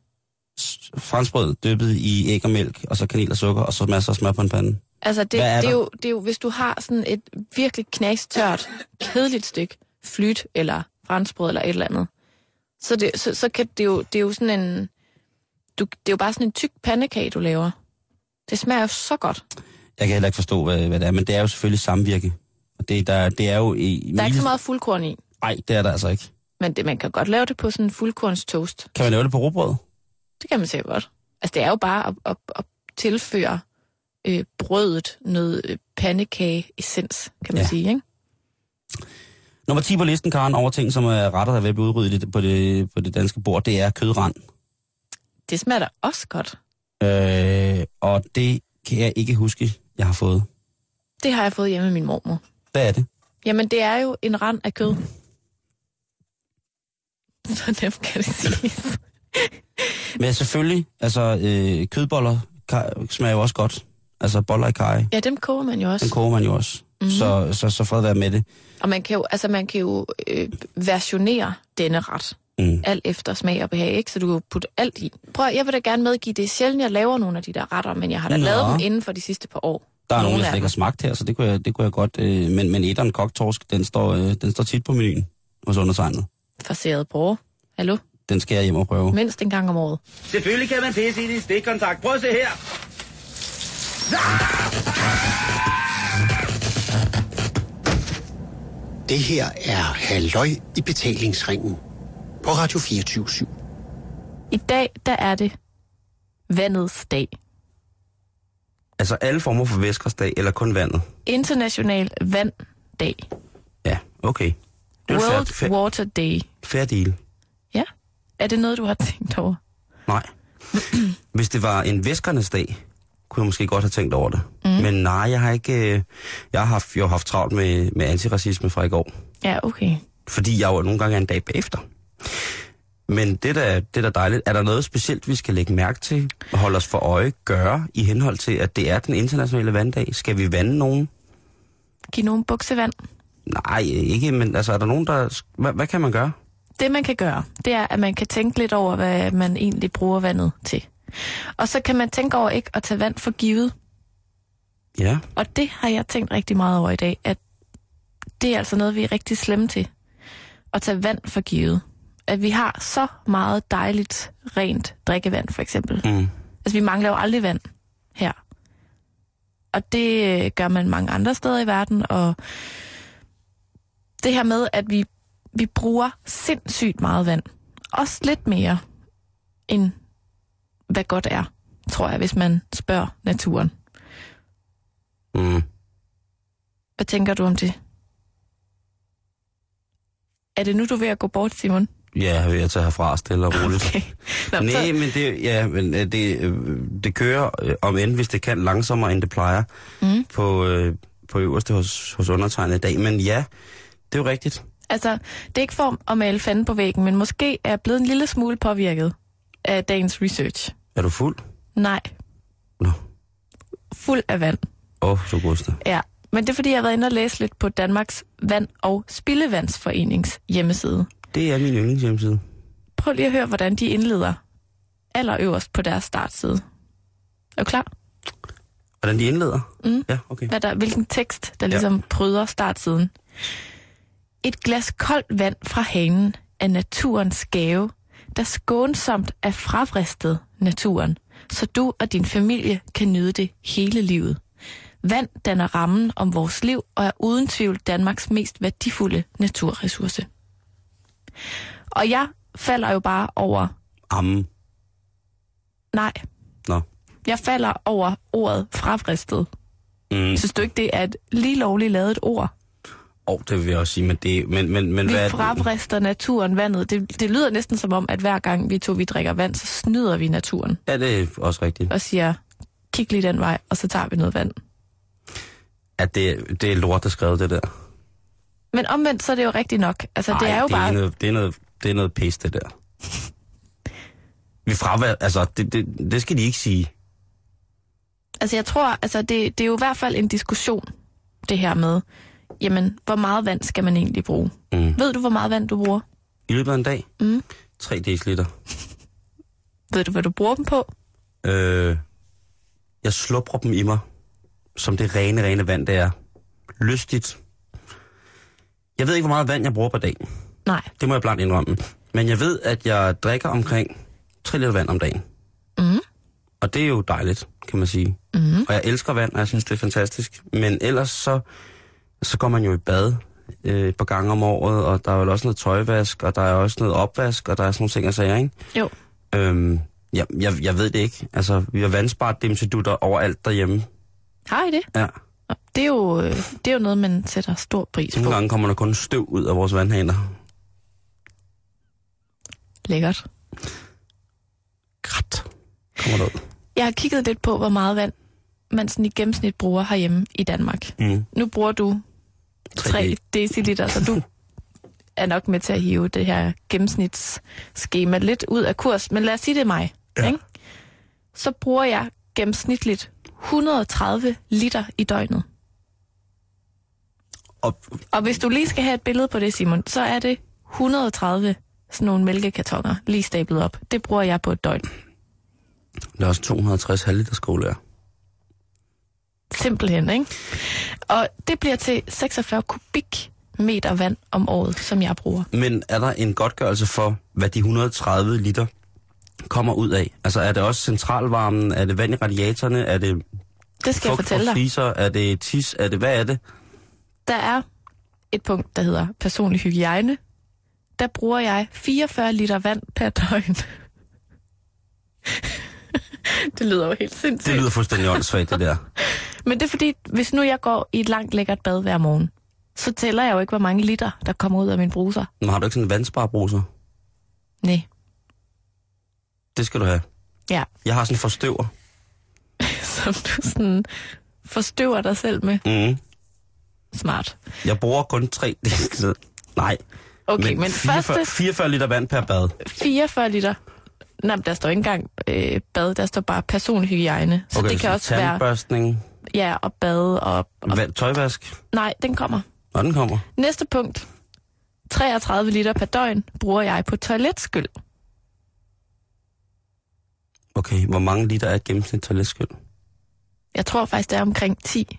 S- Franskbrød dyppet i æg og mælk, og så kanel og sukker, og så masser af smør på en pande.
Altså det,
Hvad er
er det, er
der?
jo, det er jo, hvis du har sådan et virkelig knastørt, kedeligt stykke flyt eller franskbrød eller et eller andet, så, det, så, så kan det jo, det er jo sådan en, du, det er jo bare sådan en tyk pandekage, du laver. Det smager jo så godt.
Jeg kan heller ikke forstå, hvad, hvad det er, men det er jo selvfølgelig samvirke. Og det, der, det er jo... I,
Der er ikke så meget fuldkorn i,
Nej, det er der altså ikke.
men det, man kan godt lave det på sådan en fuldkornstoast.
Kan man lave det på råbrød?
Det kan man sikkert godt. Altså det er jo bare at, at, at tilføre øh, brødet noget øh, pandekage-essens, kan man
Ja.
ja. sige, ikke?
Nummer 10 på listen, Karen, over ting, som er retter, der er ved at blive udryddet i det- på det, på det danske bord, det er kødrand.
Det smager da også godt.
Øh, og det kan jeg ikke huske, jeg har fået.
Det har jeg fået hjemme af min mormor.
Hvad er det?
Jamen, det er jo en rand af kød. Så nemt kan det siges.
Men selvfølgelig, altså øh, kødboller ka- smager jo også godt. Altså boller i kaj,
Ja, dem koger man jo
den
også.
koger man jo også.
Mhm.
Mm-hmm. Så, så, så fred være med det.
Og man kan jo, altså, man kan jo øh, versionere denne ret.
Mm.
Alt efter smag og behag, ikke? Så du kan jo putte alt i. Prøv, at- jeg vil da gerne medgive, det er sjældent, jeg laver nogle af de der retter, men jeg har da
Nå.
Nå. lavet dem inden for de sidste par år.
Der er nogen,
Nogle
der
af
slet ikke har
dem.
smagt her, så det kunne jeg, det kunne jeg godt. Øh, men, men etteren koktorsk, den står, øh, den står tit på menuen hos undertegnet.
Farseret bror. Hallo?
Den skal jeg hjem og prøve.
Mindst en gang om året.
Selvfølgelig kan man pisse i din stikkontakt. Prøv at se her.
Det her er Halløj i betalingsringen på Radio 24 /7.
I dag, der er det vandets dag.
Altså alle former for væskersdag, eller kun vandet?
International vanddag.
Ja, okay. Det er jo et fair,
World
fair,
Water Day.
fair deal.
Ja. Er det noget, du har tænkt over?
Nej. Hvis det var en væskernes dag, kunne jeg måske godt have tænkt over det. Mm. Men nej, jeg har ikke... øh, Jeg har haft, jeg har haft travlt med, med antiracisme fra i går.
Ja, okay.
Fordi jeg jo nogle gange er en dag bagefter. Men det er da, det er da dejligt. Er der noget specielt, vi skal lægge mærke til, holde os for øje, gøre i henhold til, at det er den internationale vanddag? Skal vi vande nogen?
Giv nogen buksevand.
Nej, ikke, men altså, er der nogen, der... Hvad, hvad kan man gøre?
Det, man kan gøre, det er, at man kan tænke lidt over, hvad man egentlig bruger vandet til. Og så kan man tænke over ikke at tage vand for givet.
Ja.
Og det har jeg tænkt rigtig meget over i dag, at det er altså noget, vi er rigtig slemme til. At tage vand for givet. At vi har så meget dejligt, rent drikkevand, for eksempel.
Mm.
Altså, vi mangler jo aldrig vand her. Og det øh, gør man mange andre steder i verden, og det her med, at vi, vi bruger sindssygt meget vand. Også lidt mere, end hvad godt er, tror jeg, hvis man spørger naturen.
Mm.
Hvad tænker du om det? Er det nu, du er ved at gå bort, Simon?
Ja, jeg vil tage herfra stille og roligt.
Okay. Nå, men
Nej,
så,
men det, ja, men øh, det, øh, det kører, øh, om end hvis det kan, langsommere end det plejer, mm. på, øh, på øverste hos, hos undertegnet i dag. Men ja, det er jo rigtigt.
altså, det er ikke for at male fanden på væggen, men måske er jeg blevet en lille smule påvirket af dagens research.
Er du fuld?
Nej,
Nå,
fuld af vand.
åh, oh, du godeste.
Ja, men det er fordi, jeg har været inde og læse lidt på Danmarks Vand- og Spildevandsforenings hjemmeside.
Det er min yndlingshjemmeside.
Prøv lige at høre, hvordan de indleder allerøverst på deres startside. Er du klar?
Hvordan de indleder? Mm. Ja, okay.
Hvad der, hvilken tekst, der ligesom pryder startsiden. Et glas koldt vand fra hanen er naturens gave, der skånsomt er fravristet naturen, så du og din familie kan nyde det hele livet. Vand danner rammen om vores liv og er uden tvivl Danmarks mest værdifulde naturressource. Og jeg falder jo bare over,
Amen.
nej,
Nå.
jeg falder over ordet fravristet.
Mm.
Synes du ikke, det er et lige lovligt lavet ord?
Oh, det vil jeg også sige, men det... Men, men, men
Vi
hvad er det?
frabrister naturen vandet. Det, det lyder næsten som om, at hver gang vi to vi drikker vand, så snyder vi naturen
Ja, det er også rigtigt.
og siger, kig lige den vej, og så tager vi noget vand.
At det, det er lort, der skrev det der.
Men omvendt, så er det jo rigtigt nok. Altså, det
Ej,
er jo
det
bare...
Er noget, det, er noget, det er noget pis, det der. Vi fravær, altså, det, det, det skal de ikke sige.
Altså jeg tror, altså det, det er jo i hvert fald en diskussion, det her med, jamen, hvor meget vand skal man egentlig bruge?
Mm.
Ved du, hvor meget vand du bruger?
I løbet af en dag?
Mm.
3 dl.
Ved du, hvad du bruger dem på?
Øh, jeg slupper dem i mig, som det rene, rene vand, det er. Lystigt. Jeg ved ikke, hvor meget vand jeg bruger per dag.
Nej.
Det må jeg blankt indrømme. Men jeg ved, at jeg drikker omkring 3 liter vand om dagen.
Mm.
Og det er jo dejligt, kan man sige.
Mm.
Og jeg elsker vand, og jeg synes, det er fantastisk. Men ellers så, så går man jo i bad øh, et par gange om året, og der er jo også noget tøjvask, og der er også noget opvask, og der er sådan nogle ting og sager, ikke?
Jo.
Øhm, ja, jeg, jeg ved det ikke. Altså, vi har vandspart dimsedutter overalt derhjemme.
Har I det?
Ja.
Nå, Det er, jo, øh, det er jo noget, man sætter stor pris på.
Nogle gange kommer der kun støv ud af vores vandhaner.
Lækkert.
Krat. Kommer der ud.
Jeg har kigget lidt på, hvor meget vand man sådan i gennemsnit bruger herhjemme i Danmark.
Mm.
Nu bruger du
3
3 deciliter, så du er nok med til at hive det her gennemsnitsskema lidt ud af kurs. Men lad os sige, det er mig. Ja. Ikke? Så bruger jeg gennemsnitligt 130 liter i døgnet.
Og
Og hvis du lige skal have et billede på det, Simon, så er det 130 sådan nogle mælkekartoner lige stablet op. Det bruger jeg på et døgn.
der er også 260 halvliter skåler.
Simpelthen, ikke? Og det bliver til 46 kubikmeter vand om året, som jeg bruger.
Men er der en godtgørelse for, hvad de 130 liter kommer ud af? Altså er det også centralvarmen? Er det vand i radiatorerne? Er det
Det skal jeg
fugt
fortælle
fra
dig.
fliser? Er det tis? Er det, hvad er det?
Der er et punkt, der hedder personlig hygiejne. Der bruger jeg 44 liter vand per døgn. det lyder jo helt sindssygt.
Det lyder fuldstændig åndssvagt, det der.
Men det er fordi, hvis nu jeg går i et langt lækkert bad hver morgen, så tæller jeg jo ikke, hvor mange liter, der kommer ud af min bruser.
Men har du ikke sådan en vandsparbruser?
Nej.
Det skal du have.
Ja,
Jeg har sådan en forstøver.
som du sådan forstøver dig selv med.
Mm.
Smart.
Jeg bruger kun tre dl. Nej.
Okay, men, men
44,
første
44 liter vand per bad.
44 liter. Nej, men der står ikke engang øh, bad, der står bare personhygiejne. Så det kan
så
også være
tandbørstning,
ja, og bade og, og...
vand, tøjvask.
Nej, den kommer.
Og den kommer.
Næste punkt. 33 liter per døgn bruger jeg på toiletskyld.
Okay, hvor mange liter er et gennemsnit toiletskyld?
Jeg tror faktisk, det er omkring 10.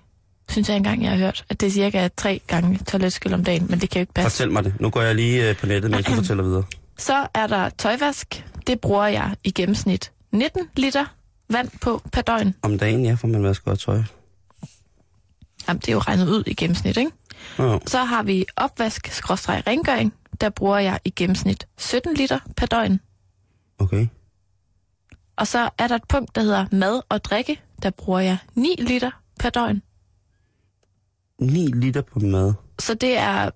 Synes jeg engang, jeg har hørt, at det er cirka tre gange toiletskyld om dagen, men det kan jo ikke passe.
Fortæl mig det. Nu går jeg lige øh, på nettet, mens du fortæller videre.
Så er der tøjvask. Det bruger jeg i gennemsnit 19 liter vand på per døgn.
Om dagen, ja, for man vasker og tøj.
Jamen, det er jo regnet ud i gennemsnit, ikke?
Nå, jo.
Så har vi opvask-rengøring. Der bruger jeg i gennemsnit 17 liter per døgn.
okay.
Og så er der et punkt, der hedder mad og drikke. Der bruger jeg 9 liter per døgn.
9 liter på mad.
Så det er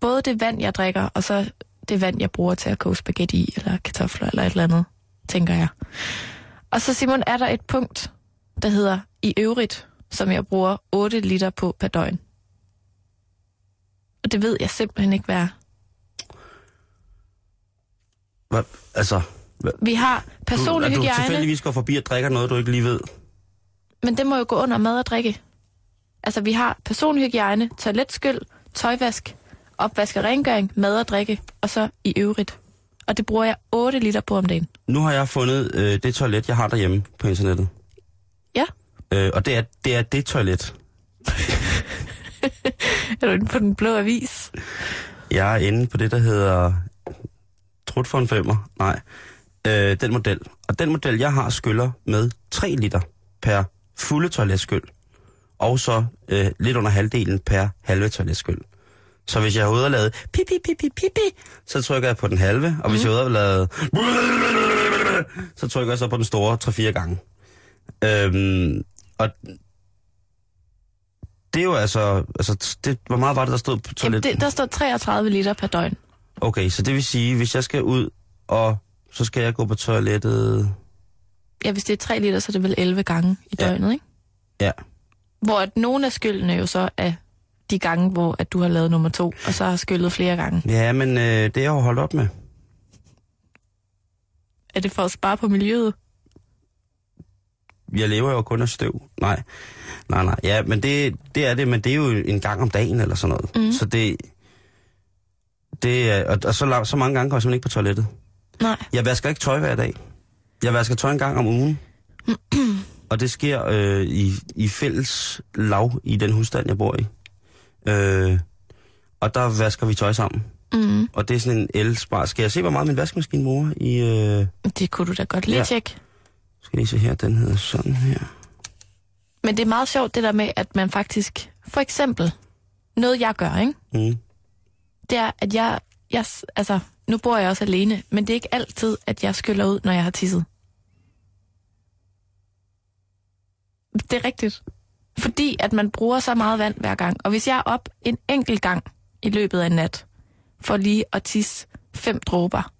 både det vand, jeg drikker, og så det vand, jeg bruger til at koge spaghetti i, eller kartofler, eller et eller andet, tænker jeg. Og så, Simon, er der et punkt, der hedder i øvrigt, som jeg bruger 8 liter på per døgn. Og det ved jeg simpelthen ikke, hvad er.
Hvad, altså, hvad,
Vi har
du,
personlig
at du
hygiejne.
tilfældigvis går forbi og drikker noget, du ikke lige ved.
Men det må jo gå under mad og drikke. Altså, vi har personhygiejne, toiletskyld, tøjvask, opvask og rengøring, mad og drikke, og så i øvrigt. Og det bruger jeg 8 liter på om dagen.
Nu har jeg fundet øh, det toilet, jeg har derhjemme på internettet.
Ja.
Øh, og det er, det er det toilet.
Er du inde på den blå avis?
Jeg er inde på det, der hedder... Trut for en femmer. Nej. Øh, den model. Og den model, jeg har, skyller med 3 liter per fulde toiletskyld. Og så øh, lidt under halvdelen per halve toiletskyld. Så hvis jeg har ude og lavet pi, pi, pi, pi, pi, pi, så trykker jeg på den halve. Og hvis jeg er ude og lavet... Så trykker jeg så på den store 3-4 gange. Øhm, og det er jo altså... altså det, hvor meget var det, der stod på
Jamen,
toilettet?
det, der står 33 liter per døgn.
Okay, så det vil sige, hvis jeg skal ud, og så skal jeg gå på toilettet...
Ja, hvis det er 3 liter, så er det vel 11 gange i
Ja.
døgnet, ikke?
Ja,
Hvor at nogle af skyldene jo så er de gange, hvor at du har lavet nummer to, og så har skyllet flere gange.
ja men øh, det er jeg jo holdt op med.
Er det for at spare på miljøet?
jeg lever jo kun af støv. Nej, nej, nej. Ja, men det, det er det, men det er jo en gang om dagen eller sådan noget. Mm. Så det, det er, og, og så, la- så mange gange kommer jeg simpelthen ikke på toilettet.
Nej.
Jeg vasker ikke tøj hver dag. Jeg vasker tøj en gang om ugen. og det sker øh, i, i fælles lav i den husstand, jeg bor i. Øh, og der vasker vi tøj sammen.
Mm.
Og det er sådan en elspar. Skal jeg se, hvor meget min vaskemaskine bruger i... Øh,
Det kunne du da godt lige
Ja.
ja. tjekke.
skal lige se her, den hedder sådan her.
Men det er meget sjovt det der med, at man faktisk... For eksempel, noget jeg gør, ikke?
Mm.
det er, at jeg, jeg... s- Altså, nu bor jeg også alene, men det er ikke altid, at jeg skyller ud, når jeg har tisset. Det er rigtigt. Fordi at man bruger så meget vand hver gang. Og hvis jeg er op en enkelt gang i løbet af en nat, for lige at tisse fem dråber,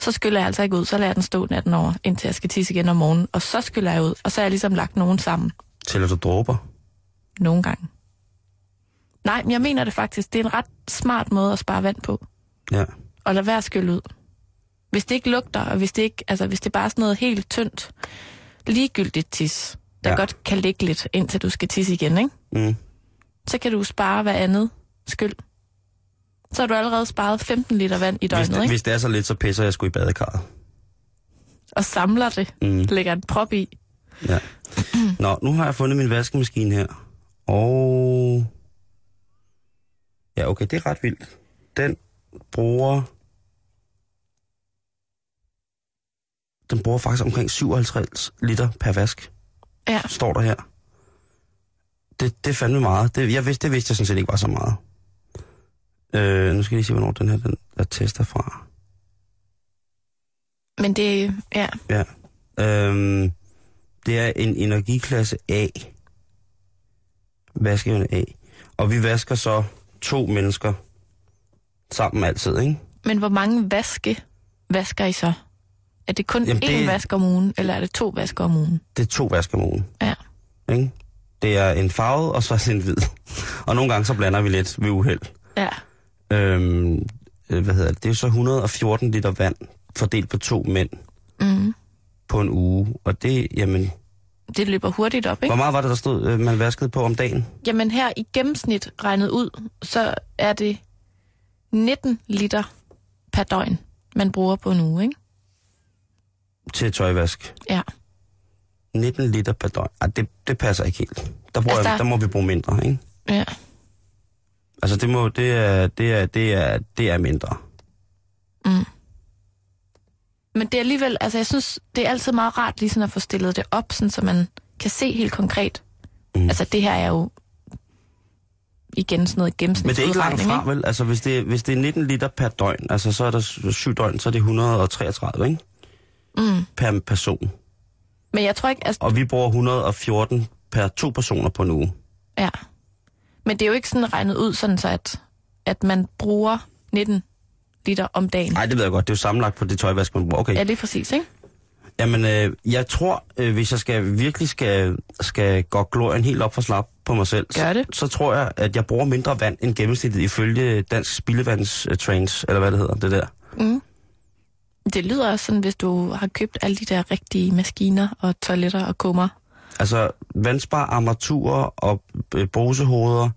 så skyller jeg altså ikke ud. Så lader jeg den stå natten over, indtil jeg skal tisse igen om morgenen. Og så skyller jeg ud, og så har jeg ligesom lagt nogen sammen.
Tæller du dråber?
Nogle gange. Nej, men jeg mener det faktisk. Det er en ret smart måde at spare vand på
Ja.
og lad være at skylle ud. Hvis det ikke lugter, og hvis det, ikke, altså, hvis det bare er sådan noget helt tyndt, ligegyldigt tis, der
Ja.
ja. godt kan ligge lidt, indtil du skal tisse igen, ikke?
Mm.
så kan du spare hver andet skyld. Så har du allerede sparet 15 liter vand i
Hvis,
døgnet,
det,
ikke?
hvis det er så lidt, så pisser jeg sgu i badekarret.
og samler det,
Mm.
lægger en prop i.
Ja. Nå, nu har jeg fundet min vaskemaskine her. Og... Ja, okay, det er ret vildt. Den bruger... Den bruger faktisk omkring 57 liter per vask,
Ja,
står der her. Det, det er fandme meget. Det, jeg vidste, det vidste jeg sådan set ikke var så meget. Øh, nu skal jeg lige se, hvornår den her den, der tester fra.
men det, ja,
Ja. Øhm, det er en energiklasse A. Vaskeevne A. Og vi vasker så to mennesker sammen altid, ikke?
men hvor mange vaske vasker I så? Er det kun
Jamen,
Jamen, én
det-
det... vask om ugen, eller er det to vasker om ugen?
Det er to vasker om ugen,
Ja.
ikke? Det er en farvet, og så er det en hvid. Og nogle gange så blander vi lidt ved uheld.
Ja.
Øhm, øh, hvad hedder det? Det er jo så 114 liter vand fordelt på to mænd
Mm.
på en uge. Og det, jamen...
Det løber hurtigt op, ikke?
Hvor meget var det, der stod, øh, man vaskede på om dagen?
Jamen her i gennemsnit regnet ud, så er det 19 liter per døgn, man bruger på en uge, ikke?
Til tøjvask.
Ja.
19 liter per døgn. Ej, det, det passer ikke helt. Der, bruger altså,
Altså,
jeg, der
der-
må vi bruge mindre, ikke?
ja.
Altså, det, må, det, er, det, er, det, er, det er mindre.
Men det er alligevel, altså jeg synes, det er altid meget rart lige sådan at få stillet det op, sådan, så man kan se helt konkret.
Mm.
Mm. Altså det her er jo igen sådan noget gennemsnit.
Men det er ikke langt fra, vel? Altså, hvis det, hvis det er 19 liter per døgn, altså, så er der s- syv døgn, så er det 133, ikke?
Mm.
Per person.
Men jeg tror ikke, altså,
Og vi bruger 114 per to personer på en uge.
ja. Men det er jo ikke sådan regnet ud, sådan så at, at man bruger 19 liter om dagen.
Nej, det ved jeg godt. Det er jo sammenlagt på det tøjvask, man bruger. Okay.
Ja, det er præcis, ikke?
Jamen, øh, jeg tror, øh, hvis jeg skal, virkelig skal, skal gå glorien helt op for slap på mig selv,
Gør det.
Så, så tror jeg, at jeg bruger mindre vand end gennemsnittet ifølge Dansk Spildevandstrains, eller hvad det hedder, det der.
Det lyder også sådan, hvis du har købt alle de der rigtige maskiner og toiletter og kummer.
Altså, vandspar, armaturer og øh, bosehoveder,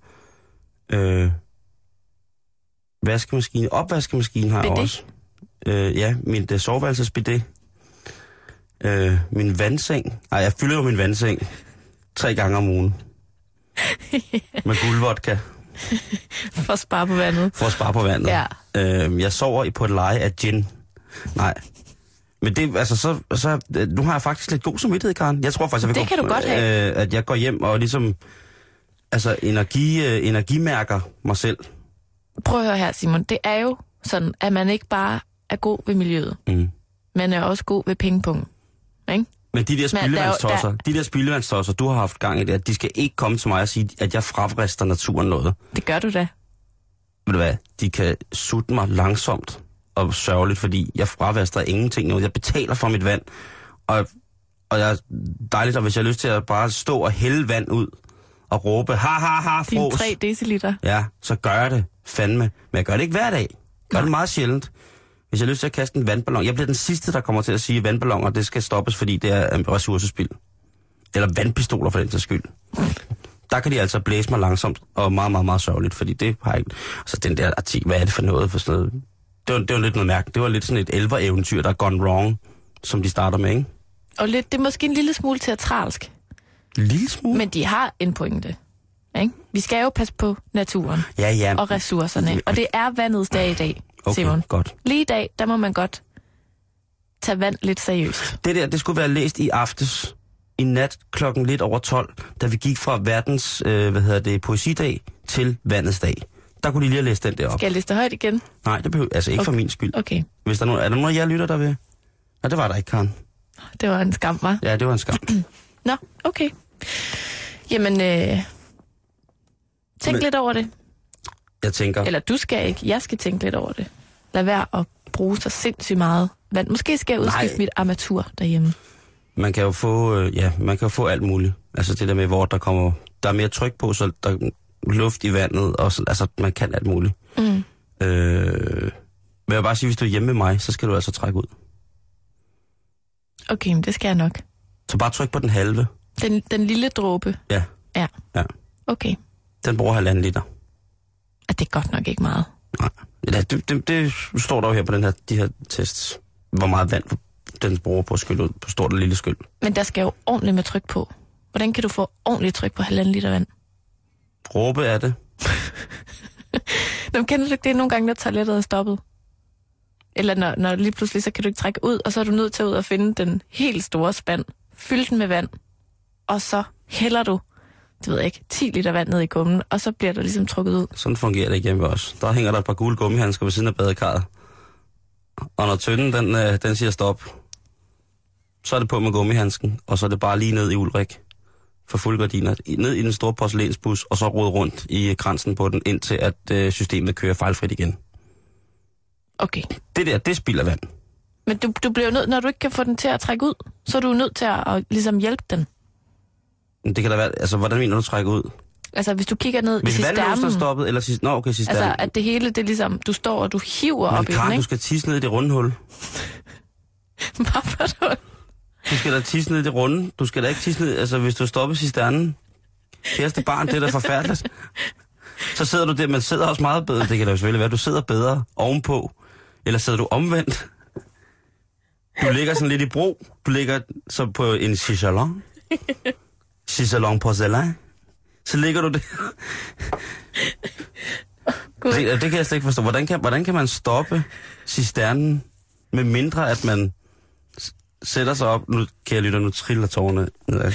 øh, vaskemaskine, opvaskemaskine har jeg
Bidet?
også. Øh, ja, min øh, soveværelsesbidet. Øh, min vandseng. Ej, jeg fylder jo min vandseng tre gange om ugen. Med guldvodka.
For at spare på vandet.
for at spare på vandet.
Ja.
Øhm, jeg sover i- på et leje af gin. Nej. Men det, altså, så, så, øh, nu har jeg faktisk lidt god samvittighed, Karen. Jeg tror faktisk, jeg vil
Det kan du godt
have. Øh, at jeg går hjem og ligesom, altså, energi, øh, energimærker mig selv.
Prøv at høre her, Simon. Det er jo sådan, at man ikke bare er god ved miljøet.
Mm.
Man er også god ved pengepunkten. Ikke?
Men de der
der er jo-
spildevandstosser, de der spildevandstosser, du har haft gang i det, de skal ikke komme til mig og sige, at jeg frafrister naturen noget.
Det gør du da.
Ved du hvad, de kan sutte mig langsomt og sørgeligt, fordi jeg fravaster ingenting nu. Jeg betaler for mit vand, og, og jeg er dejligt, og hvis jeg har lyst til at bare stå og hælde vand ud og råbe, ha ha ha,
Dine
fros.
3 deciliter.
Ja, så gør jeg det fandme. Men jeg gør det ikke hver dag. Jeg gør det meget sjældent. Hvis jeg har lyst til at kaste en vandballon. Jeg bliver den sidste, der kommer til at sige, at vandballoner det skal stoppes, fordi det er øh, ressourcespild. eller vandpistoler for den sags skyld. Der kan de altså blæse mig langsomt, og meget, meget, meget sørgeligt, fordi det har ikke... Så den der artikel, hvad er det for noget for sådan noget? Det var, det var lidt noget mærke. Det var lidt sådan et elver-eventyr, der er gone wrong, som de starter med, ikke?
Og lidt, det er måske en lille smule teatralsk,
En lille smule?
men de har en pointe. Ikke? Vi skal jo passe på naturen
ja, ja.
og ressourcerne, og det er vandets dag i dag,
okay,
Simon.
godt.
Lige i dag, der må man godt tage vand lidt seriøst.
Det der, det skulle være læst i aftes, i nat klokken lidt over 12, da vi gik fra verdens, øh, hvad hedder det, poesidag til vandets dag. Der kunne de lige have læst den der op.
Skal jeg læse det højt igen?
Nej, det behøver, altså ikke okay. for min skyld.
Okay,
Hvis der er, nogen, er der nogen af jer lytter, der vil? Nej, det var der ikke, Karen.
det var en skam, var.
Ja, det var en skam.
Nå, okay. Jamen, øh,
Men-
tænk Men... lidt over det.
Jeg tænker,
Eller du skal ikke, jeg skal tænke lidt over det. Lad være at bruge så sindssygt meget vand. Måske skal jeg udskifte
Nej.
mit armatur derhjemme.
man kan jo få, øh, ja, man kan jo få alt muligt. Altså det der med, hvor der kommer, der er mere tryk på, så der er luft i vandet, og så, altså man kan alt muligt.
Mm.
Øh, men jeg vil bare sige, hvis du er hjemme med mig, så skal du altså trække ud.
Okay, men det skal jeg nok.
Så bare tryk på den halve.
Den, den lille dråbe.
Ja.
Ja.
Ja.
Okay.
Den bruger halvanden liter.
Og det er godt nok ikke meget.
Nej. Eller, det, det, det, står der jo her på den her, de her tests, hvor meget vand den bruger på at skylle ud, på stort og lille skyld.
Men der skal jo ordentligt med tryk på. Hvordan kan du få ordentligt tryk på halvanden liter vand?
Råbe er det.
Nå, men kender du ikke det nogle gange, når toilettet er stoppet? Eller når, når lige pludselig, så kan du ikke trække ud, og så er du nødt til at ud og finde den helt store spand, fylde den med vand, og så hælder du, det ved jeg ikke, 10 liter vand ned i kummen, og så bliver der ligesom trukket ud.
Sådan fungerer det hjemme også. Der hænger der et par gule gummihandsker ved siden af badekarret. Og når tønden, den, øh, den siger stop, så er det på med gummihandsken, og så er det bare lige ned i Ulrik for fuld gardiner, i- ned i den store porcelænsbus, og så rode rundt i grænsen på den, indtil at øh, systemet kører fejlfrit igen.
Okay.
Det der, det spilder vand.
Men du, du bliver jo nødt, når du ikke kan få den til at trække ud, så er du jo nødt til at, at ligesom hjælpe den.
Men Det kan da være, altså hvordan mener du trække ud?
Altså, hvis du kigger ned i
Hvis vandløsen er
cisternen,
stoppet, eller sidst... Nå, okay, sidst
altså, at det hele, det er ligesom, du står og du hiver
Men
op i den,
Karen, du
ikke?
skal tisse ned i det runde hul.
Bare for at du
Du skal da tisse ned i det runde. Du skal da ikke tisse ned... Altså, hvis du stopper cisternen... Kæreste barn, det er da forfærdeligt. Så sidder du der, man sidder også meget bedre. Det kan da jo selvfølgelig være, du sidder bedre ovenpå. Eller sidder du omvendt. Du ligger sådan lidt i bro. Du ligger så på en chichalon. Chichalon porcelain. Så ligger du der. Det, det kan jeg slet ikke forstå. Hvordan kan, hvordan kan man stoppe cisternen, med mindre at man s- sætter sig op? Nu, kære lytter, nu triller tårerne nedad.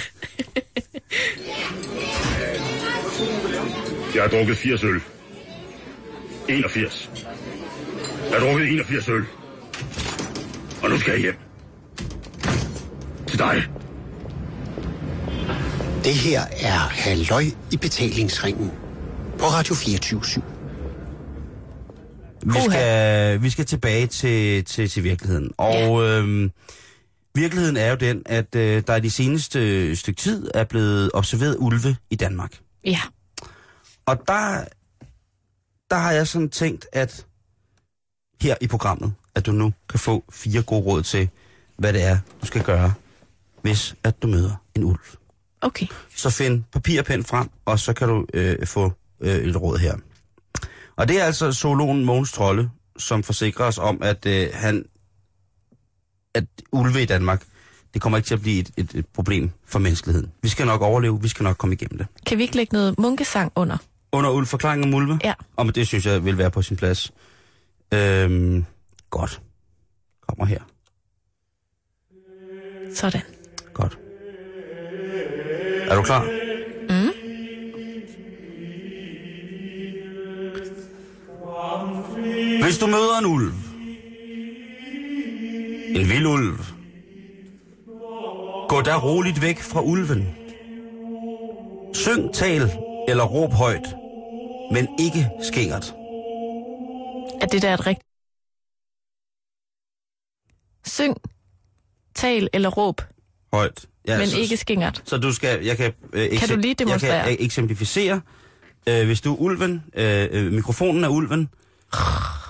Jeg har drukket 80 øl. 81. Jeg har drukket 81 øl. Og nu skal jeg hjem. Til dig.
Det her er Halløj i betalingsringen på Radio 24 /7.
Vi skal, vi skal tilbage til, til, til virkeligheden. Og øhm, virkeligheden er jo den, at øh, der i de seneste øh, stykke tid er blevet observeret ulve i Danmark.
Ja.
Og der, der har jeg sådan tænkt, at her i programmet, at du nu kan få fire gode råd til, hvad det er, du skal gøre, hvis at du møder en ulv.
Okay.
Så find papir og pen frem, og så kan du øh, få øh, et råd her. Og det er altså zoologen Mogens Trolle, som forsikrer os om, at øh, han at ulve i Danmark, det kommer ikke til at blive et, et, et problem for menneskeligheden. Vi skal nok overleve, vi skal nok komme igennem det.
Kan vi ikke lægge noget munkesang under?
Under ulv forklaring om ulve?
Ja.
Og men det synes jeg vil være på sin plads. Øhm, godt. Kommer her.
Sådan.
Godt. Er du klar?
Mm.
Hvis du møder en ulv, en vild ulv, gå da roligt væk fra ulven. Syng, tal eller råb højt, men ikke skængert.
Er det der et rigtigt... Syng, tal eller råb,
Højt. Ja,
men
så-
ikke skingert.
Så du skal, jeg kan, øh, eksem-
Kan du lige
Jeg
demonstrere?
kan øh, eksemplificere. Øh, hvis du er ulven, øh, øh, mikrofonen er ulven,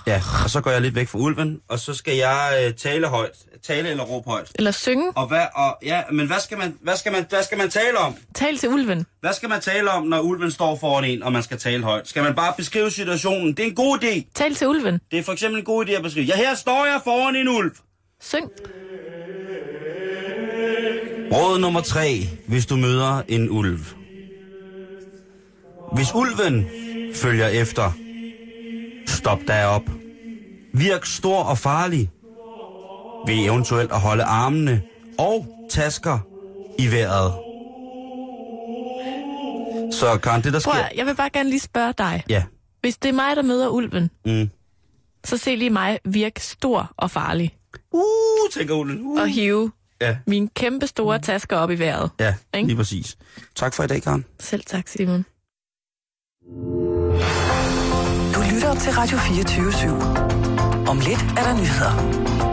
Ja, og så går jeg lidt væk fra ulven, og så skal jeg øh, tale højt. Tale eller råbe højt.
Eller synge.
Og hvad, og, ja, men hvad skal, man, hvad, skal man, hvad skal man tale om?
Tal til ulven.
Hvad skal man tale om, når ulven står foran en, og man skal tale højt? Skal man bare beskrive situationen? Det er en god idé.
Tal til ulven.
Det er for eksempel en god idé at beskrive. Ja, her står jeg foran en ulv.
Syng.
Råd nummer tre, hvis du møder en ulv. Hvis ulven følger efter, stop dig op. Virk stor og farlig ved eventuelt at holde armene og tasker i vejret. Så Karen, det der sker...
Prøv, at- jeg vil bare gerne lige spørge dig.
Ja.
Hvis det er mig, der møder ulven,
Mm.
så se lige mig virke stor og farlig.
Uh, tænker ulven. Uh.
Og hive
Ja, Mm.
mine kæmpe store tasker op i vejret.
ja,
Ikke?
lige præcis. Tak for i dag, Karen.
Selv tak, Simon.
Du lytter til Radio 24 /7. Om lidt er der nyheder.